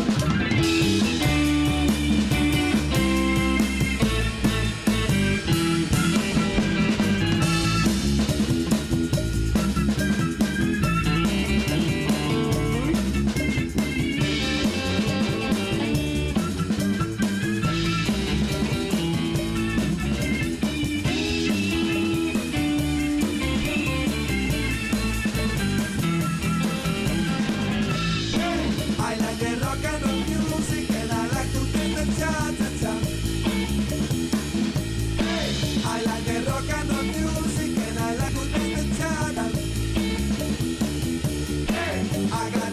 I like the rock and roll music and I like to dance the cha cha cha. I like the rock and roll music and I like to dance the cha cha. I got